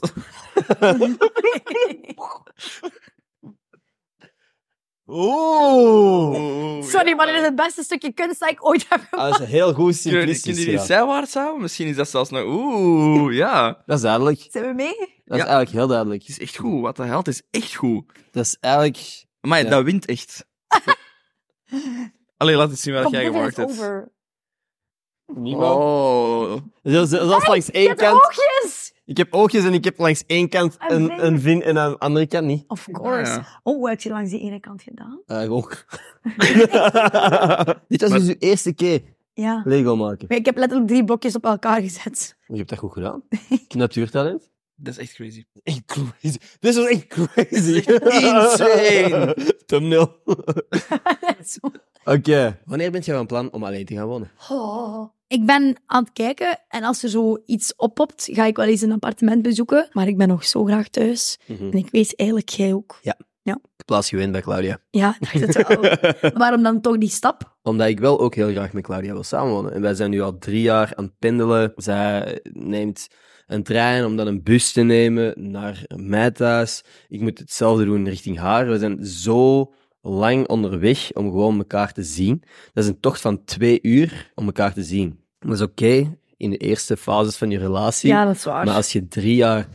S3: Oeh.
S2: Sorry, maar dit is het beste stukje kunst dat ik ooit heb gemaakt.
S1: Ah, dat is heel goed
S3: Kunnen
S1: simplistisch.
S3: jullie die
S1: gedaan.
S3: zijwaarts houden? Misschien is dat zelfs nog... Oeh, ja.
S1: Dat is duidelijk.
S2: Zijn we mee?
S1: Dat is
S3: Ja.
S1: eigenlijk heel duidelijk.
S3: Het is echt goed, wat de hel, het is echt goed.
S1: Dat is eigenlijk...
S3: Maar
S1: Ja.
S3: dat wint echt. Allee, laat eens zien wat jij
S2: Competition is
S3: gemaakt hebt.
S2: over.
S1: Niemand.
S3: Oh.
S1: Dat is dat is langs
S2: Je
S1: één
S2: hebt
S1: kant...
S2: oogjes!
S1: Ik heb oogjes en ik heb langs één kant
S2: Een
S1: een,
S2: vinger.
S1: een vin en aan de andere kant niet.
S2: Of course.
S3: Ah, ja.
S2: Oh, hoe heb je langs die ene kant gedaan?
S1: Eh ook. Dit was
S3: Maar-
S1: dus uw eerste keer
S2: Ja.
S1: Lego maken.
S2: Maar ik heb letterlijk drie blokjes op elkaar gezet.
S1: Je hebt dat goed gedaan. Natuurtalent.
S3: Dat is echt crazy.
S1: Echt crazy. Dit was echt crazy.
S3: Insane.
S1: Thumbnail.
S2: Zo.
S1: Oké. Wanneer bent jij van plan om alleen te gaan wonen?
S2: Oh. Ik ben aan het kijken en als er zo iets oppopt, ga ik wel eens een appartement bezoeken. Maar ik ben nog zo graag thuis.
S1: Mhm.
S2: En ik weet eigenlijk jij ook.
S1: Ik plaats je in bij Claudia.
S2: Ja, ik dacht het wel. Waarom dan toch die stap?
S1: Omdat ik wel ook heel graag met Claudia wil samenwonen. En wij zijn nu al drie jaar aan het pendelen. Zij neemt een trein om dan een bus te nemen naar mij thuis. Ik moet hetzelfde doen richting haar. We zijn zo lang onderweg om gewoon elkaar te zien. Dat is een tocht van twee uur om elkaar te zien. Dat is oké in de eerste fases van je relatie.
S2: Ja, dat is waar.
S1: Maar als je drie jaar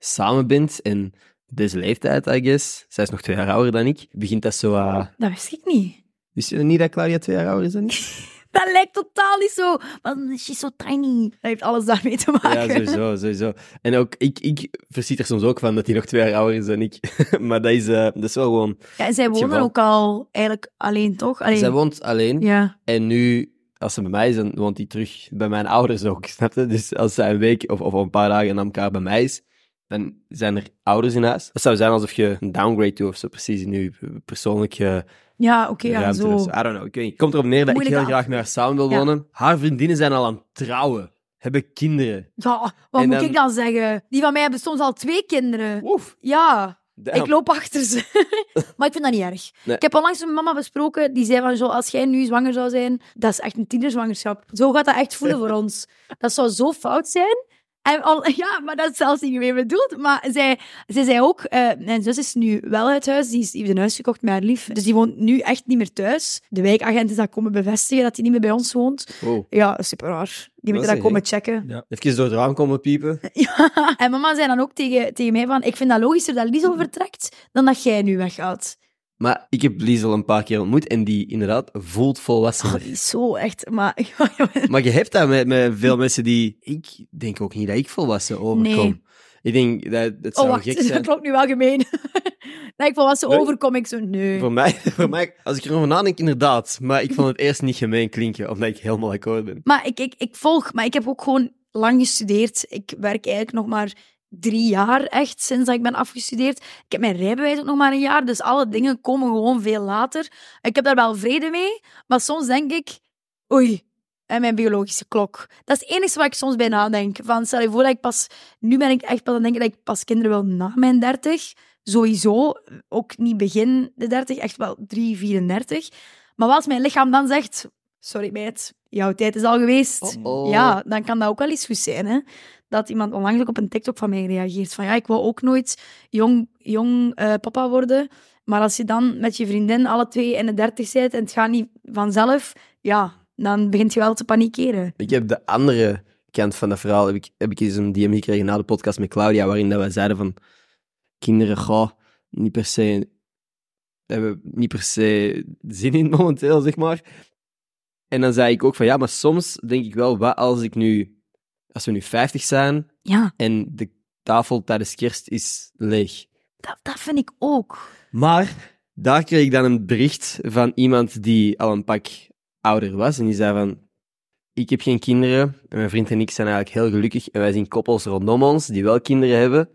S1: samen bent en op deze leeftijd, I guess, zij is nog twee jaar ouder dan ik, begint dat zo... eh,
S2: Dat wist ik niet.
S1: Wist je niet dat Claudia twee jaar ouder is dan ik?
S2: Dat lijkt totaal niet zo. Want she's so tiny. Dat heeft alles daarmee te
S1: Ja,
S2: maken.
S1: sowieso, sowieso. En ook, ik, ik verschiet er soms ook van dat hij nog twee jaar ouder is dan ik. maar dat is, eh, dat is wel gewoon...
S2: Ja, en zij
S1: Het
S2: wonen
S1: geval.
S2: ook al eigenlijk alleen, toch? Alleen.
S1: Zij woont alleen.
S2: Ja.
S1: En nu, als ze bij mij is, dan woont hij terug bij mijn ouders ook, snap je? Dus als zij een week of, of een paar dagen aan elkaar bij mij is, dan zijn er ouders in huis. Dat zou zijn alsof je een downgrade doet of zo, precies, in je persoonlijke
S2: Ja, oké, ja,
S1: ruimte
S2: zo.
S1: of zo. I don't know, ik weet niet. Komt erop neer dat ik
S2: Moeilijke
S1: heel graag
S2: afweging.
S1: met haar samen wil
S2: Ja.
S1: wonen. Haar vriendinnen zijn al aan het trouwen, hebben kinderen.
S2: Ja, wat
S1: En
S2: moet
S1: dan-
S2: ik dan zeggen? Die van mij hebben soms al twee kinderen.
S1: Oef.
S2: Ja,
S1: damn.
S2: ik loop achter ze. maar ik vind dat niet erg.
S1: Nee.
S2: Ik heb onlangs met mijn mama besproken. Die zei van, zo, als jij nu zwanger zou zijn, dat is echt een tienerzwangerschap. Zo gaat dat echt voelen voor ons. Dat zou zo fout zijn. En al, ja, maar dat is zelfs niet meer bedoeld. Maar zij, zij zei ook, eh, mijn zus is nu wel uit huis. Die, is, die heeft een huis gekocht met haar lief. Dus die woont nu echt niet meer thuis. De wijkagent is dat komen bevestigen dat hij niet meer bij ons woont.
S1: Wow.
S2: Ja, super raar. Die
S1: Dat
S2: moeten dat
S1: is
S2: komen checken.
S1: Even door het raam komen piepen.
S2: En mama zei dan ook tegen, tegen mij van, ik vind dat logischer dat Liesel vertrekt dan dat jij nu weggaat.
S1: Maar ik heb Liesel een paar keer ontmoet en die inderdaad voelt
S2: Oh,
S1: volwassener.
S2: die is zo echt, maar...
S1: Maar je hebt dat met, met veel mensen die... Ik denk ook niet dat ik volwassen overkom.
S2: Nee.
S1: Ik denk dat het zou
S2: oh, wacht,
S1: gek zijn.
S2: dat klopt nu wel gemeen. nee, ik volwassen
S1: Nee.
S2: overkom ik zo, nee.
S1: Voor mij, voor mij, als ik erover nadenk, inderdaad. Maar ik vond het eerst niet gemeen klinken, omdat ik helemaal akkoord ben.
S2: Maar ik, ik, ik volg, maar ik heb ook gewoon lang gestudeerd. Ik werk eigenlijk nog maar drie jaar echt sinds dat ik ben afgestudeerd. Ik heb mijn rijbewijs ook nog maar een jaar, dus alle dingen komen gewoon veel later. Ik heb daar wel vrede mee, maar soms denk ik, oei, en mijn biologische klok. Dat is het enige waar ik soms bij nadenk. Van, stel je voor dat ik pas, nu ben ik echt pas aan het denken dat ik pas kinderen wil na mijn 30. Sowieso, ook niet begin de 30, echt wel 3, 34. Maar wat als mijn lichaam dan zegt, sorry meid, jouw tijd is al geweest.
S1: Oh-oh.
S2: Ja, dan kan dat ook wel eens goed zijn. Hè? Dat iemand onlangs ook op een TikTok van mij reageert van ja, ik wil ook nooit jong, jong eh, papa worden. Maar als je dan met je vriendin alle twee in de dertig zit en het gaat niet vanzelf, ja, dan begint je wel te panikeren.
S1: Ik heb de andere kant van dat verhaal, heb ik, heb ik eens een DM gekregen na de podcast met Claudia, waarin dat wij zeiden van, kinderen, goh, niet per se, hebben niet per se zin in momenteel, zeg maar. En dan zei ik ook van, ja, maar soms denk ik wel, wat als ik nu, als we nu 50 zijn
S2: Ja,
S1: en de tafel tijdens kerst is leeg.
S2: dat, dat vind ik ook.
S1: Maar daar kreeg ik dan een bericht van iemand die al een pak ouder was. En die zei van, ik heb geen kinderen. En mijn vriend en ik zijn eigenlijk heel gelukkig. En wij zien koppels rondom ons die wel kinderen hebben,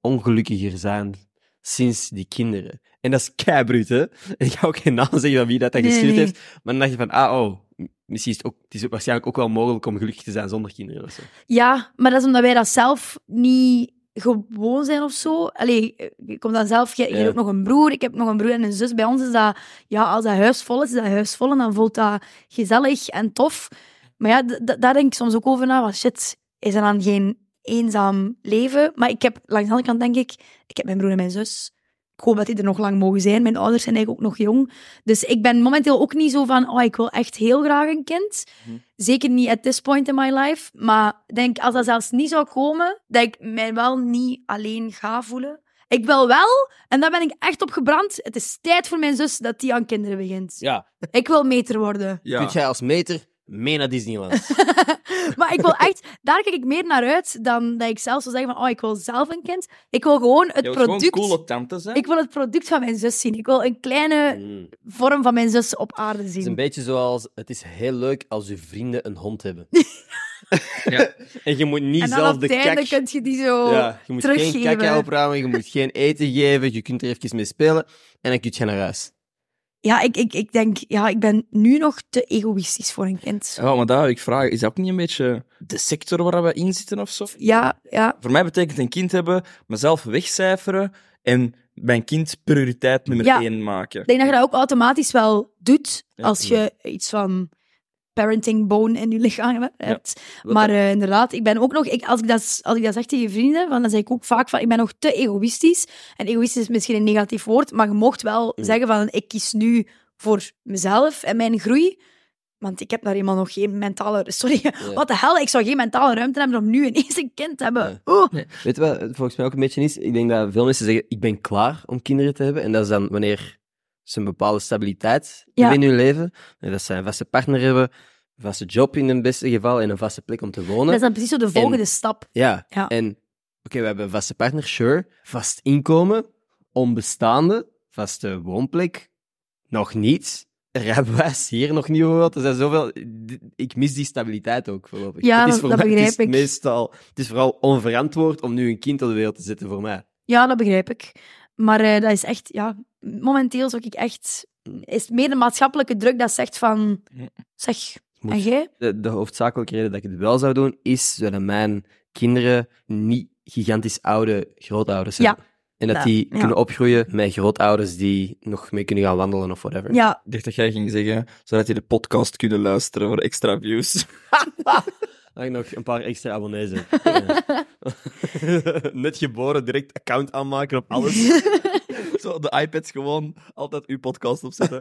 S1: ongelukkiger zijn sinds die kinderen. En dat is keibruut, hè? En ik ga ook geen naam zeggen van wie dat, dat
S2: Nee,
S1: gestuurd
S2: nee.
S1: heeft. Maar dan dacht je van, ah, oh, m- misschien is het, ook, het is waarschijnlijk ook wel mogelijk om gelukkig te zijn zonder kinderen. Of zo.
S2: Ja, maar dat is omdat wij dat zelf niet gewoon zijn of zo. Allee, ik kom dan zelf, je, je
S1: Ja.
S2: hebt ook nog een broer, ik heb nog een broer en een zus. Bij ons is dat, ja, als dat huis vol is, is dat huis vol en dan voelt dat gezellig en tof. Maar ja, d- d- daar denk ik soms ook over na, van shit, is dat dan geen eenzaam leven? Maar ik heb, langs de andere kant denk ik, ik heb mijn broer en mijn zus. Ik hoop dat die er nog lang mogen zijn. Mijn ouders zijn eigenlijk ook nog jong. Dus ik ben momenteel ook niet zo van, oh, ik wil echt heel graag een kind. Zeker niet at this point in my life. Maar ik denk, als dat zelfs niet zou komen, dat ik mij wel niet alleen ga voelen. Ik wil wel, en daar ben ik echt op gebrand. Het is tijd voor mijn zus dat die aan kinderen begint.
S1: Ja.
S2: Ik wil meter worden.
S3: Ja.
S1: Kun jij als meter mee naar Disneyland?
S2: maar ik wil echt, daar kijk ik meer naar uit dan dat ik zelf zou zeggen van, oh, ik wil zelf een kind. Ik wil gewoon het
S3: Je wilt
S2: product...
S3: gewoon coole tante zijn.
S2: Ik wil het product van mijn zus zien. Ik wil een kleine
S1: Mm.
S2: vorm van mijn zus op aarde
S1: Het is
S2: zien.
S1: een beetje zoals, het is heel leuk als uw vrienden een hond hebben.
S3: Ja.
S1: En je moet niet
S2: En dan
S1: zelf
S2: op
S1: de
S2: het einde
S1: kak...
S2: kun je die zo...
S1: ja, je moet geen
S2: teruggeven.
S1: kakka opruimen, je moet geen eten geven, je kunt er even mee spelen en dan kun je naar huis.
S2: Ja, ik, ik, ik denk, ja, ik ben nu nog te egoïstisch voor een kind.
S3: Ja, maar daar wil ik vragen, is dat ook niet een beetje de sector waar we in zitten of zo?
S2: Ja, ja.
S3: Voor mij betekent een kind hebben, mezelf wegcijferen en mijn kind prioriteit nummer
S2: Ja.
S3: één maken.
S2: Ik denk dat je dat ook automatisch wel doet
S3: Ja.
S2: als je iets van parenting bone in je lichaam hebt. Maar eh, inderdaad, ik ben ook nog, ik, als, ik dat, als ik dat zeg tegen vrienden, van, dan zeg ik ook vaak van, ik ben nog te egoïstisch. En egoïstisch is misschien een negatief woord, maar je mocht wel
S1: Mm.
S2: zeggen van, ik kies nu voor mezelf en mijn groei. Want ik heb daar helemaal nog geen mentale... Sorry, wat de hel, ik zou geen mentale ruimte hebben om nu ineens een kind te hebben. Oeh.
S1: Weet je wat het volgens mij ook een beetje is? Ik denk dat veel mensen zeggen, ik ben klaar om kinderen te hebben. En dat is dan wanneer ze een bepaalde stabiliteit
S2: Ja.
S1: hebben in hun leven. En dat ze een vaste partner hebben, een vaste job in het beste geval en een vaste plek om te
S2: Dat
S1: wonen.
S2: is dan precies zo de volgende stap.
S1: Ja.
S2: Ja.
S1: En oké, we hebben een vaste partner, sure. Vast inkomen, onbestaande, vaste woonplek, nog niet. Rijbewijs hier nog niet over. wat. Er zijn zoveel... d- Ik mis die stabiliteit ook voorlopig.
S2: Ja,
S1: Het
S2: dat- dat
S1: mij- het
S2: begrijp
S1: is
S2: ik.
S1: Meestal, het is vooral onverantwoord om nu een kind op de wereld te zetten voor mij.
S2: Ja, dat begrijp ik. Maar eh, dat is echt, ja, momenteel zou ik echt.
S1: Mm.
S2: Is het meer de maatschappelijke druk dat zegt van. Zeg,
S1: Moet.
S2: en jij?
S1: De, de hoofdzakelijke reden dat ik het wel zou doen, is zodat mijn kinderen niet gigantisch oude grootouders
S2: Ja.
S1: zijn. En dat
S2: Ja,
S1: die
S2: ja.
S1: kunnen opgroeien met grootouders die nog mee kunnen gaan wandelen of whatever.
S2: Ja,
S3: Ik dacht dat jij ging zeggen, zodat je de podcast kunnen luisteren voor extra views.
S1: Dat ik nog een paar extra abonnees heb. Net geboren, direct account aanmaken op alles.
S3: Zo, de iPads gewoon altijd uw podcast opzetten.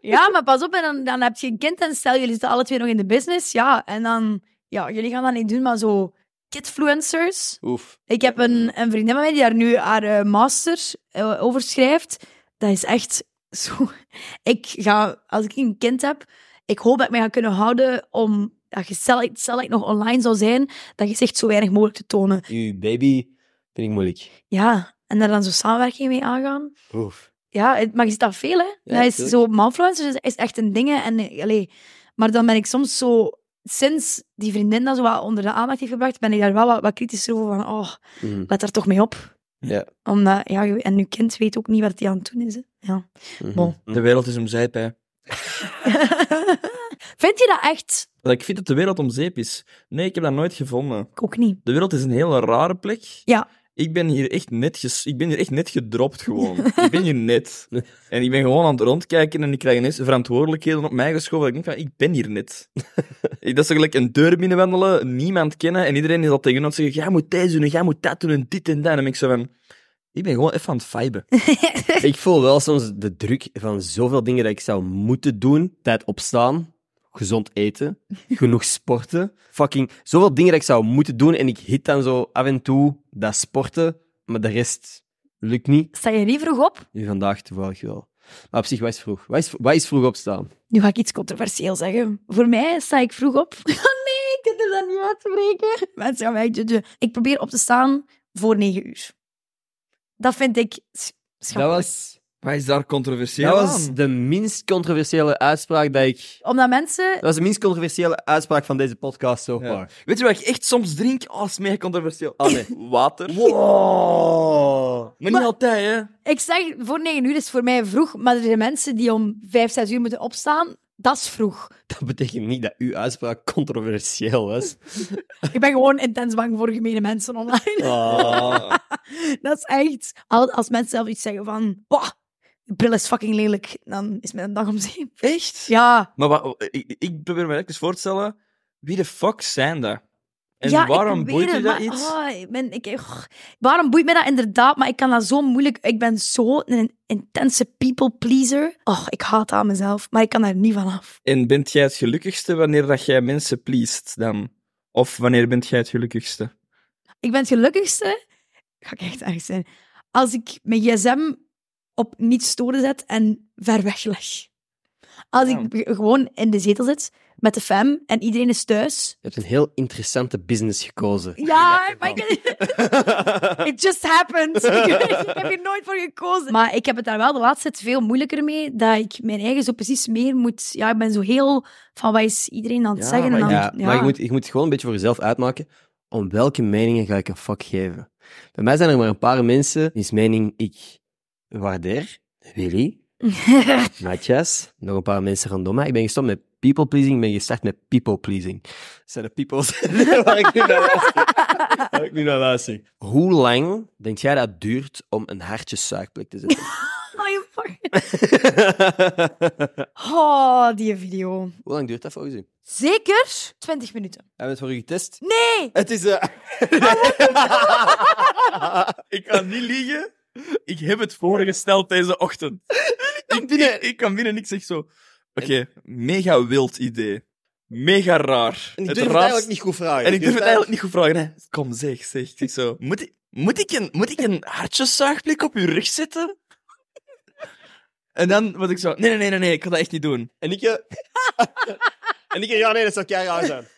S2: ja maar pas op, en dan, dan heb je een kind en stel jullie zitten alle twee nog in de business. Ja, en dan. Ja, jullie gaan dat niet doen, maar zo. Kidfluencers.
S1: Oef.
S2: Ik heb een, een vriendin van mij die daar nu haar eh, master eh, over schrijft. Dat is echt zo. Ik ga, als ik een kind heb, ik hoop dat ik mij ga kunnen houden om dat je select, select nog online zou zijn, dat je zegt zo weinig mogelijk te tonen.
S1: Uw baby vind ik moeilijk.
S2: Ja, en daar dan zo samenwerking mee aangaan.
S1: Oef.
S2: Ja, het- maar je ziet dat veel, hè.
S1: Ja,
S2: dat is
S1: tuurlijk.
S2: zo, manfluencers is, is echt een ding, hè. En, eh, allee, maar dan ben ik soms zo... Sinds die vriendin dat zo wat onder de aandacht heeft gebracht, ben ik daar wel wat, wat kritischer over van, oh,
S1: Mhm.
S2: let daar toch mee op.
S1: Ja.
S2: Omdat, ja, je- en je kind weet ook niet wat hij aan het doen is, hè. Ja.
S1: Mhm.
S2: Bon.
S3: De wereld is om zeep, hè.
S2: Vind je dat echt?
S3: Dat ik vind dat de wereld om zeep is. Nee, ik heb dat nooit gevonden.
S2: Ik ook niet.
S3: De wereld is een hele rare plek.
S2: Ja.
S3: Ik ben hier echt net, ges- ik ben hier echt net gedropt gewoon. ik ben hier net. En ik ben gewoon aan het rondkijken en ik krijg ineens verantwoordelijkheden op mij geschoven. Dat ik denk van, ik ben hier net. Ik- dat is gelijk een deur binnenwandelen, niemand kennen en iedereen is al tegen ons zeggen, jij moet deze doen en jij moet dat doen en dit en dat. En ik zo van, ik ben gewoon even aan het viben.
S1: Ik voel wel soms de druk van zoveel dingen dat ik zou moeten doen. Tijd opstaan, gezond eten, genoeg sporten. Fucking zoveel dingen dat ik zou moeten doen en ik hit dan zo af en toe dat sporten, maar de rest lukt niet.
S2: Sta je niet vroeg op?
S1: Nu vandaag toevallig wel. Maar op zich, wat is vroeg? Wat is, wat is vroeg opstaan?
S2: Nu ga ik iets controversieel zeggen. Voor mij sta ik vroeg op. Oh nee, ik kan er dan niet uitspreken. Mensen gaan mij judgen. Ik probeer op te staan voor negen uur. Dat vind ik sch-
S1: Dat
S2: schattig.
S1: was,
S3: Wat is daar controversieel
S1: dat was
S3: aan?
S1: de minst controversiële uitspraak dat ik...
S2: Omdat mensen...
S1: Dat was de minst controversiële uitspraak van deze podcast zo
S3: Ja.
S1: far.
S3: Weet je wat ik echt soms drink? Oh, dat is mega controversieel.
S1: Ah, nee.
S3: Water.
S1: Wow.
S3: Maar niet
S2: Maar-
S3: altijd, hè.
S2: Ik zeg, voor negen uur is voor mij vroeg, maar er zijn mensen die om vijf, zes uur moeten opstaan. Dat is vroeg.
S1: Dat betekent niet dat uw uitspraak controversieel was.
S2: Ik ben gewoon intens bang voor gemene mensen online.
S3: Ah.
S2: Dat is echt... Al- Als mensen zelf iets zeggen van... Bah, je bril is fucking lelijk. Dan is mijn dag om zeep.
S3: Echt?
S2: Ja.
S3: Maar wa- ik, ik probeer me even voor te stellen, wie de fuck zijn dat? En
S2: ja, ik
S3: waarom
S2: probeer
S3: boeit je
S2: het,
S3: dat
S2: maar-
S3: iets?
S2: ah, ik ben, ik, och, waarom boeit mij dat inderdaad? Maar ik kan dat zo moeilijk... Ik ben zo een intense people pleaser. Oh, ik haat dat aan mezelf. Maar ik kan daar niet van af.
S3: En bent jij het gelukkigste wanneer dat jij mensen pleest dan? Of wanneer bent jij het gelukkigste?
S2: Ik ben het gelukkigste... Ga ik echt erg zijn. Als ik mijn gsm op niet storen zet en ver weg leg. Als
S3: Ja.
S2: ik gewoon in de zetel zit met de fam en iedereen is thuis...
S1: Je hebt een heel interessante business gekozen.
S2: Ja, maar ik- it just happened. ik heb hier nooit voor gekozen. Maar ik heb het daar wel de laatste tijd veel moeilijker mee, dat ik mijn eigen zo precies meer moet... Ja, ik ben zo heel van wat is iedereen aan het
S3: Ja,
S2: zeggen.
S3: maar
S2: en aan,
S1: Ja, maar je moet, je moet gewoon een beetje voor jezelf uitmaken om welke meningen ga ik een fuck geven. Bij mij zijn er maar een paar mensen wiens mening ik waardeer. Willy, Matjas, nog een paar mensen rondom mij. Ik ben gestopt met people pleasing, ik ben gestart met people pleasing. Dat zijn de people's waar ik nu naar luister. Waar ik nu naar luister. Hoe lang denk jij dat duurt om een hartje suikplek te zetten?
S2: Oh, je fuck. Oh, die video.
S1: Hoe lang duurt dat volgens u?
S2: Zeker 20 minuten.
S1: Hebben we het voor u getest?
S2: Nee!
S1: Het is... eh,
S3: Ik kan niet liegen. Ik heb het voorgesteld deze ochtend. Ik, ik, ik kan binnen en ik zeg zo... Oké, mega wild idee. Mega raar.
S1: en ik durf Ah, het
S3: Het raarst-
S1: eigenlijk niet goed vragen.
S3: En ik durf het eigenlijk niet goed vragen. Hè. Kom, zeg, zeg. Ik zeg zo. Moet ik, moet ik een, moet ik een hartjeszuigblik op uw rug zetten? En dan was ik zo. Nee, nee, nee, nee, nee, ik kan dat echt niet doen.
S1: En ik... eh, en ik... Ja, nee, dat zou keihard raar zijn.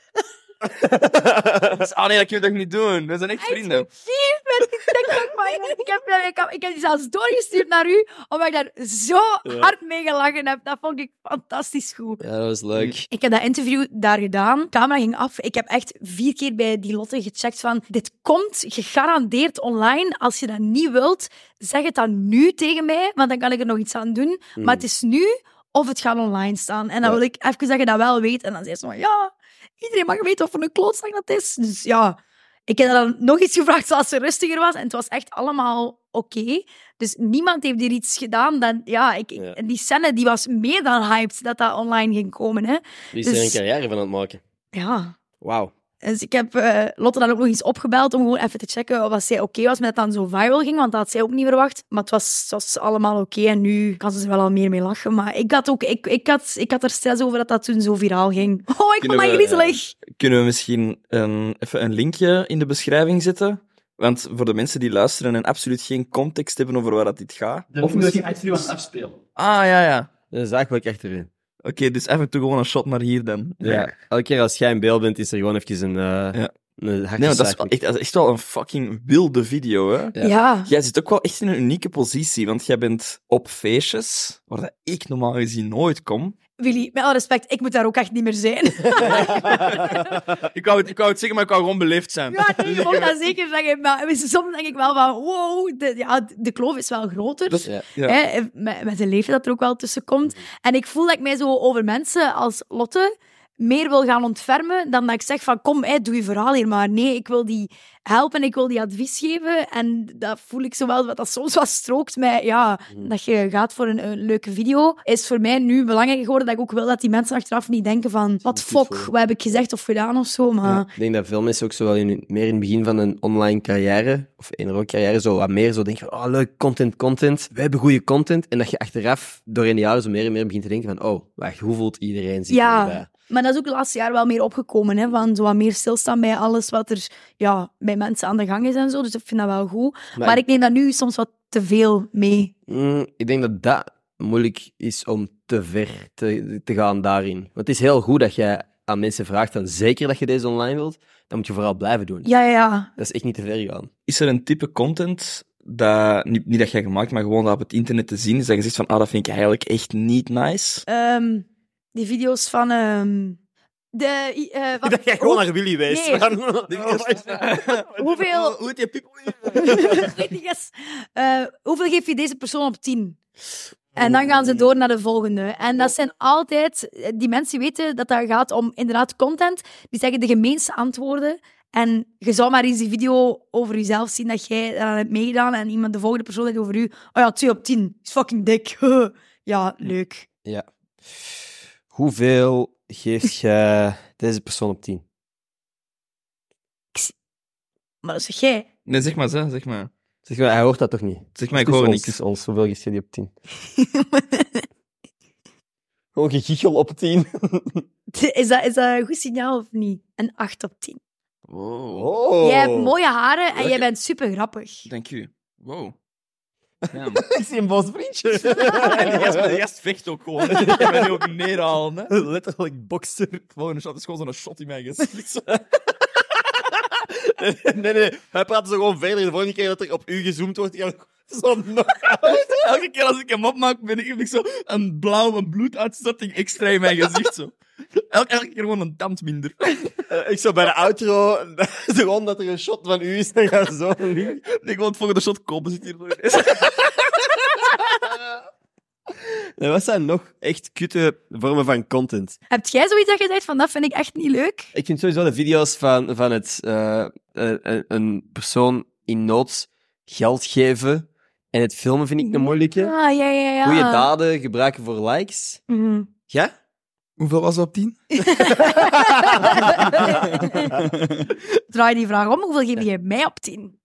S3: Dus, ah nee, dat kun je toch niet doen? We zijn echt vrienden.
S2: Lief, met die TikTok van je. ik, heb, daar- ik, heb, ik heb die zelfs doorgestuurd naar u, omdat ik daar zo hard mee gelachen heb. Dat vond ik fantastisch goed.
S1: Ja, dat was leuk.
S2: Ik heb dat interview daar gedaan. De camera ging af. Ik heb echt vier keer bij die Lotte gecheckt van dit komt gegarandeerd online. Als je dat niet wilt, zeg het dan nu tegen mij, want dan kan ik er nog iets aan doen. Maar het is nu of het gaat online staan. En dan
S1: Hmm. Ja.
S2: wil ik even zeggen dat wel weet. En dan zei ze van ja, iedereen mag weten wat voor een klootzak dat is. Dus ja, ik heb haar dan nog iets gevraagd zoals ze rustiger was. En het was echt allemaal oké. Dus niemand heeft hier iets gedaan. Dan, ja, ik, ik-
S1: Ja.
S2: en die scène die was meer dan hyped dat dat online ging komen. Hè.
S1: Wie
S2: is er een
S1: carrière van aan het maken?
S2: Ja.
S1: Wauw.
S2: Dus ik heb eh, Lotte dan ook nog eens opgebeld om gewoon even te checken of dat zij oké was met dat het dan zo viral ging, want dat had zij ook niet verwacht. Maar het was, het was allemaal oké en nu kan ze er wel al meer mee lachen. Maar ik had, ook, ik, ik had, ik had er stress over dat dat toen zo viraal ging. Oh, ik
S3: Kunnen
S2: vond dat
S3: we,
S2: griezelig.
S3: Kunnen we misschien een, even een linkje in de beschrijving zetten? Want voor de mensen die luisteren en absoluut geen context hebben over waar dat dit gaat.
S4: Of misschien uit Vloer afspelen.
S3: Ah ja, ja.
S1: Dat is eigenlijk achterin.
S3: Oké, dus af en toe gewoon een shot naar hier dan.
S1: Ja. Elke keer als jij in beeld bent, is er gewoon even een, eh
S3: Ja.
S1: een hartje
S3: Nee, maar dat is, wel
S1: staking.
S3: echt, dat is echt wel een fucking wilde video, hè?
S2: Ja.
S3: Jij zit ook wel echt in een unieke positie, want jij bent op feestjes waar dat ik normaal gezien nooit kom.
S2: Willy, met alle respect, ik moet daar ook echt niet meer zijn.
S3: Ik wou het, ik wou het zeggen, maar ik wou gewoon beleefd zijn.
S2: ja, nee, je mag dat zeker zeggen. Maar soms denk ik wel van, wow, de, ja, de kloof is wel groter.
S3: Dat-
S1: Ja.
S3: ja.
S2: Hè, eh, met, met de leeftijd dat er ook wel tussen komt. En ik voel dat ik mij zo over mensen als Lotte meer wil gaan ontfermen dan dat ik zeg van kom, hè, doe je verhaal hier maar. Nee, ik wil die helpen, ik wil die advies geven. En dat voel ik zo wel, wat dat soms wat strookt met, ja, dat je gaat voor een, een leuke video, is voor mij nu belangrijk geworden dat ik ook wil dat die mensen achteraf niet denken van wat fok, wat heb ik gezegd of gedaan of zo. Maar
S1: Ik denk dat veel mensen ook zo wel in, meer in het begin van een online carrière, of in een rockcarrière, zo wat meer zo denken van, oh leuk, content, content. We hebben goede content. En dat je achteraf, door in de jaren, zo meer en meer begint te denken van, oh, wacht, hoe voelt iedereen zich
S2: Ja.
S1: hierbij?
S2: Maar dat is ook het laatste jaar wel meer opgekomen, hè, van zo wat meer stilstaan bij alles wat er ja, bij mensen aan de gang is en zo. Dus ik vind dat wel goed. Maar, ik neem dat nu soms wat te veel mee.
S1: Mm, ik denk dat dat moeilijk is om te ver te, te gaan daarin. Want het is heel goed dat jij aan mensen vraagt van zeker dat je deze online wilt, dan moet je vooral blijven doen.
S2: Ja, ja, ja.
S1: Dat is echt niet te ver gaan.
S3: Is er een type content dat, niet, niet dat jij gemaakt, maar gewoon dat op het internet te zien is, dat je zegt van, ah, dat vind ik eigenlijk echt niet nice?
S2: Ehm, die video's van... ehm, de, i- eh, wat- hoe-
S1: Willy
S2: wijst. Nee. Hoeveel-
S3: Oh, Hoe heet die people?
S2: Yes. Eh, hoeveel geef je deze persoon op 10? En dan gaan ze door naar de volgende. En dat zijn altijd, eh, die mensen weten dat dat gaat om inderdaad content. Die zeggen de gemeenste antwoorden. En je zou maar eens die video over jezelf zien dat jij eraan hebt meegedaan. En iemand, de volgende persoon, heeft over u. Oh ja, 2 op 10. Is fucking dik. ja, leuk.
S1: Hoeveel geeft je deze persoon op 10?
S2: Maar dat zeg jij.
S3: Nee, zeg maar zo, zeg maar.
S1: Zeg maar, hij hoort dat toch niet?
S3: Zeg maar, ik hoor
S1: ons,
S3: niks.
S1: tussen ons, hoeveel geeft je die op 10? Gewoon gegichel op 10.
S2: Is dat, is dat een goed signaal of niet? Een 8 op 10.
S3: Wow.
S1: Oh.
S2: Jij hebt mooie haren en jij
S3: Lekker.
S2: bent super grappig.
S3: Dank u. Wow. Damn.
S1: Ik zie een boos vriendje.
S3: En die gast- die gast vecht ook gewoon. hè. Ik ben nu ook neerhalen. Hè.
S1: Letterlijk bokser.
S3: Volgende shot is gewoon zo'n shot in mijn gezicht.
S1: Nee, nee. Hij praat zo gewoon verder. De volgende keer dat er op u gezoomd wordt, ja, zo'n
S3: Elke keer als ik hem opmaak, ben ik, heb ik zo een blauwe bloeduitstorting extra in mijn gezicht. Zo. Elke, elke keer gewoon een tand minder.
S1: Eh, Ik zou bij de outro, gewoon dat er een shot van u is, dan gaan zo liggen.
S3: Ik wil het volgende shot kopen, zit hier nog eens.
S1: Nee, wat zijn nog echt kutte vormen van content?
S2: Heb jij zoiets dat je zegt van dat vind ik echt niet leuk?
S1: Ik vind sowieso de video's van, van het, eh, eh, eh, een persoon in nood geld geven en het filmen vind ik een moeilijke.
S2: Ah, ja, ja, ja.
S1: Goeie daden gebruiken voor likes.
S2: Mhm.
S1: Ja?
S3: Hoeveel was dat op 10?
S2: Draai die vraag om. Hoeveel geef jij mij op 10?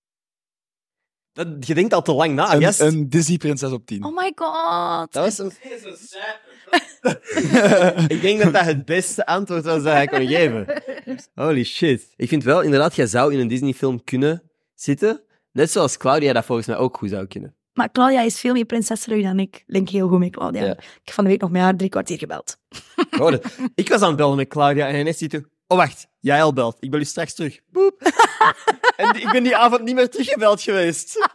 S1: Dat, je denkt al te lang na.
S3: Ah,
S1: gast.
S3: Disney-prinses op 10.
S2: Oh my god.
S1: Dat was een... ik denk dat dat het beste antwoord was dat hij kon geven. Holy shit. Ik vind wel, inderdaad, jij zou in een Disney-film kunnen zitten. Net zoals Claudia dat volgens mij ook goed zou kunnen.
S2: Maar Claudia is veel meer prinsessenrui dan ik. Link heel goed met Claudia.
S1: Ja.
S2: Ik heb van de week nog met haar drie kwartier gebeld.
S1: Ik hoorde- Oh, Ik was aan het bellen met Claudia en ineens ziet u... Oh, wacht. Jij al belt. Ik bel u straks terug. Boep. en die- ik ben die avond niet meer teruggebeld geweest.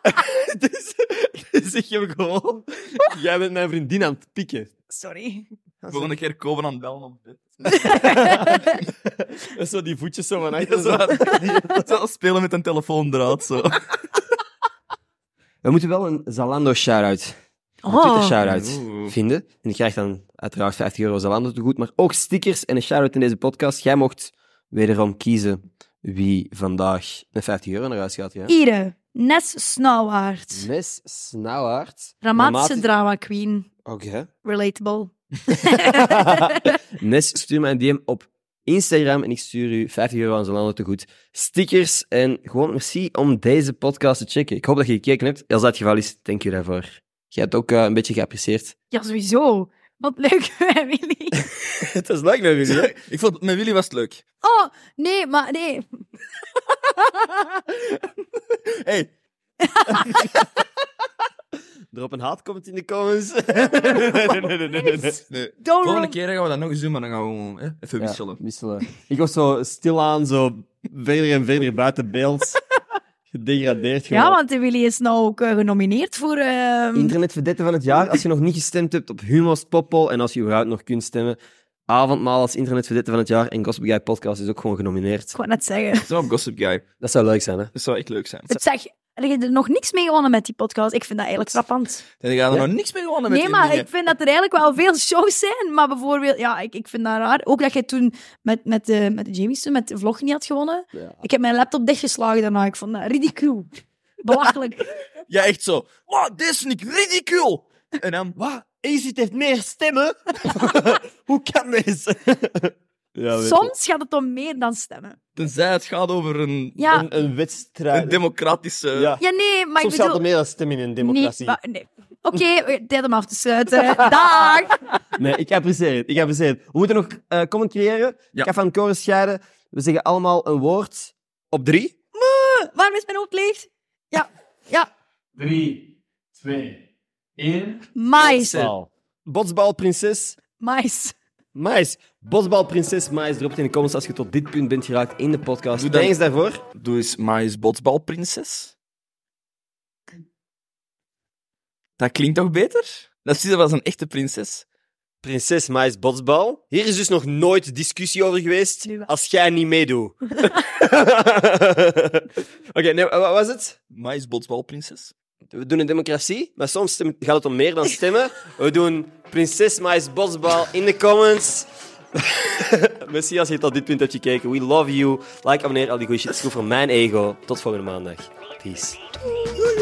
S1: dus, dus ik heb gewoon... Jij bent mijn vriendin aan het pikken.
S2: Sorry.
S3: Volgende keer komen aan het bellen op bed.
S1: Dat is zo die voetjes zo van
S3: Ja,
S1: achter.
S3: zo, zo spelen met een telefoondraad. Zo.
S1: We moeten wel een Zalando shout-out. Een Twitter
S2: Oh,
S1: shout-out
S3: Oeh.
S1: vinden. En je krijgt dan uiteraard 50 euro Zalando goed, maar ook stickers en een shout-out in deze podcast. Jij mocht wederom kiezen wie vandaag een 50 euro naar huis gaat. Ja?
S2: Ire. Nes Snauwaard.
S1: Mes Snauwaard.
S2: Dramatische
S1: Dramatisch-
S2: drama queen.
S1: Oké.
S2: Relatable.
S1: Nes, stuur mij een DM op Instagram en ik stuur u 50 euro aan Zalando te goed. Stickers en gewoon merci om deze podcast te checken. Ik hoop dat je gekeken hebt. Als dat het geval is, dank je daarvoor. Jij hebt ook eh, een beetje geapprecieerd.
S2: Ja, sowieso. Wat leuk, Willy.
S1: het was leuk met jullie.
S3: Ik vond, met Willy was het leuk.
S2: Oh, nee, maar nee.
S3: Hey,
S1: Drop een haat comment in de comments.
S3: nee, nee, nee, nee, nee, nee.
S2: Don't
S3: Volgende
S2: run.
S3: keer gaan we dat nog eens doen, maar dan gaan we gewoon hè, even wisselen.
S1: Ja, wisselen. Ik was zo stilaan, zo verder en verder buiten beeld. Gedegradeerd.
S2: Ja, want de Willy is nou ook eh, genomineerd voor... ehm,
S1: Internetverdette van het jaar. Als je nog niet gestemd hebt op Humo's Poppel en als je überhaupt nog kunt stemmen, Avondmaal als Internetverdette van het jaar en Gossip Guy Podcast is ook gewoon genomineerd.
S2: ik wou net zeggen.
S3: Zo op Gossip Guy.
S1: Dat zou leuk zijn, hè?
S3: Dat zou echt leuk zijn.
S2: Het zeg, er is er nog niks mee gewonnen met die podcast. Ik vind dat eigenlijk frappant.
S3: En die gaan er
S1: Ja.
S3: nog niks mee gewonnen met
S2: Nee,
S3: die
S2: maar
S3: dingen.
S2: ik vind dat er eigenlijk wel veel shows zijn. Maar bijvoorbeeld, ja, ik, ik vind dat raar. Ook dat jij toen met, met, eh, met de Jamie's toen, met de vlog niet had gewonnen.
S1: Ja.
S2: Ik heb mijn laptop dichtgeslagen daarna. Ik vond dat ridicule. Belachelijk.
S3: Ja, echt zo. Wow, dit is niet ridicule! En dan, wat?
S1: Easy heeft meer stemmen. Hoe kan deze? ja, weet je.
S2: Soms gaat het om meer dan stemmen.
S3: Tenzij het gaat over een,
S2: Ja,
S1: Een, een
S3: een
S1: wedstrijd.
S3: democratische...
S1: ja.
S2: ja nee, maar
S1: Soms
S2: ik
S1: gaat
S2: bedoel...
S1: er meer dan stemmen in een democratie.
S2: Nee, maar- nee. Oké, eh, tijd om af te sluiten. Dag!
S1: Nee, ik apprecieer het. Ik apprecieer het. We moeten nog eh comment creëren.
S3: Ja.
S1: Ik ga van koren scheiden. We zeggen allemaal een woord op drie.
S2: Waarom is mijn hoofd leeg? Ja, ja.
S4: 3, 2, 1.
S2: Mais.
S1: Botsbal. Botsbalprinses.
S2: Mais.
S1: Mais. Botsbalprinses Mais. Drop het in de comments als je tot dit punt bent geraakt in de podcast.
S3: Doe dan.
S1: Thanks daarvoor.
S3: Doe eens Maïs Botsbalprinses. Dat klinkt toch beter? Dat is wel een echte prinses.
S1: Prinses Mais Botsbal. Hier is dus nog nooit discussie over geweest.
S2: Nu wel.
S1: Als jij niet meedoet. Oké, nee, wa- wat was het?
S3: Maïs Botsbalprinses.
S1: We doen een democratie, maar soms stem- gaat het om meer dan stemmen. We doen prinses mais botsbal in de comments. Merci als je tot dit punt hebt gekeken. We love you. Like, abonneer, al die goeie shit. Het is goed voor mijn ego. Tot volgende maandag. Peace.
S3: Doei.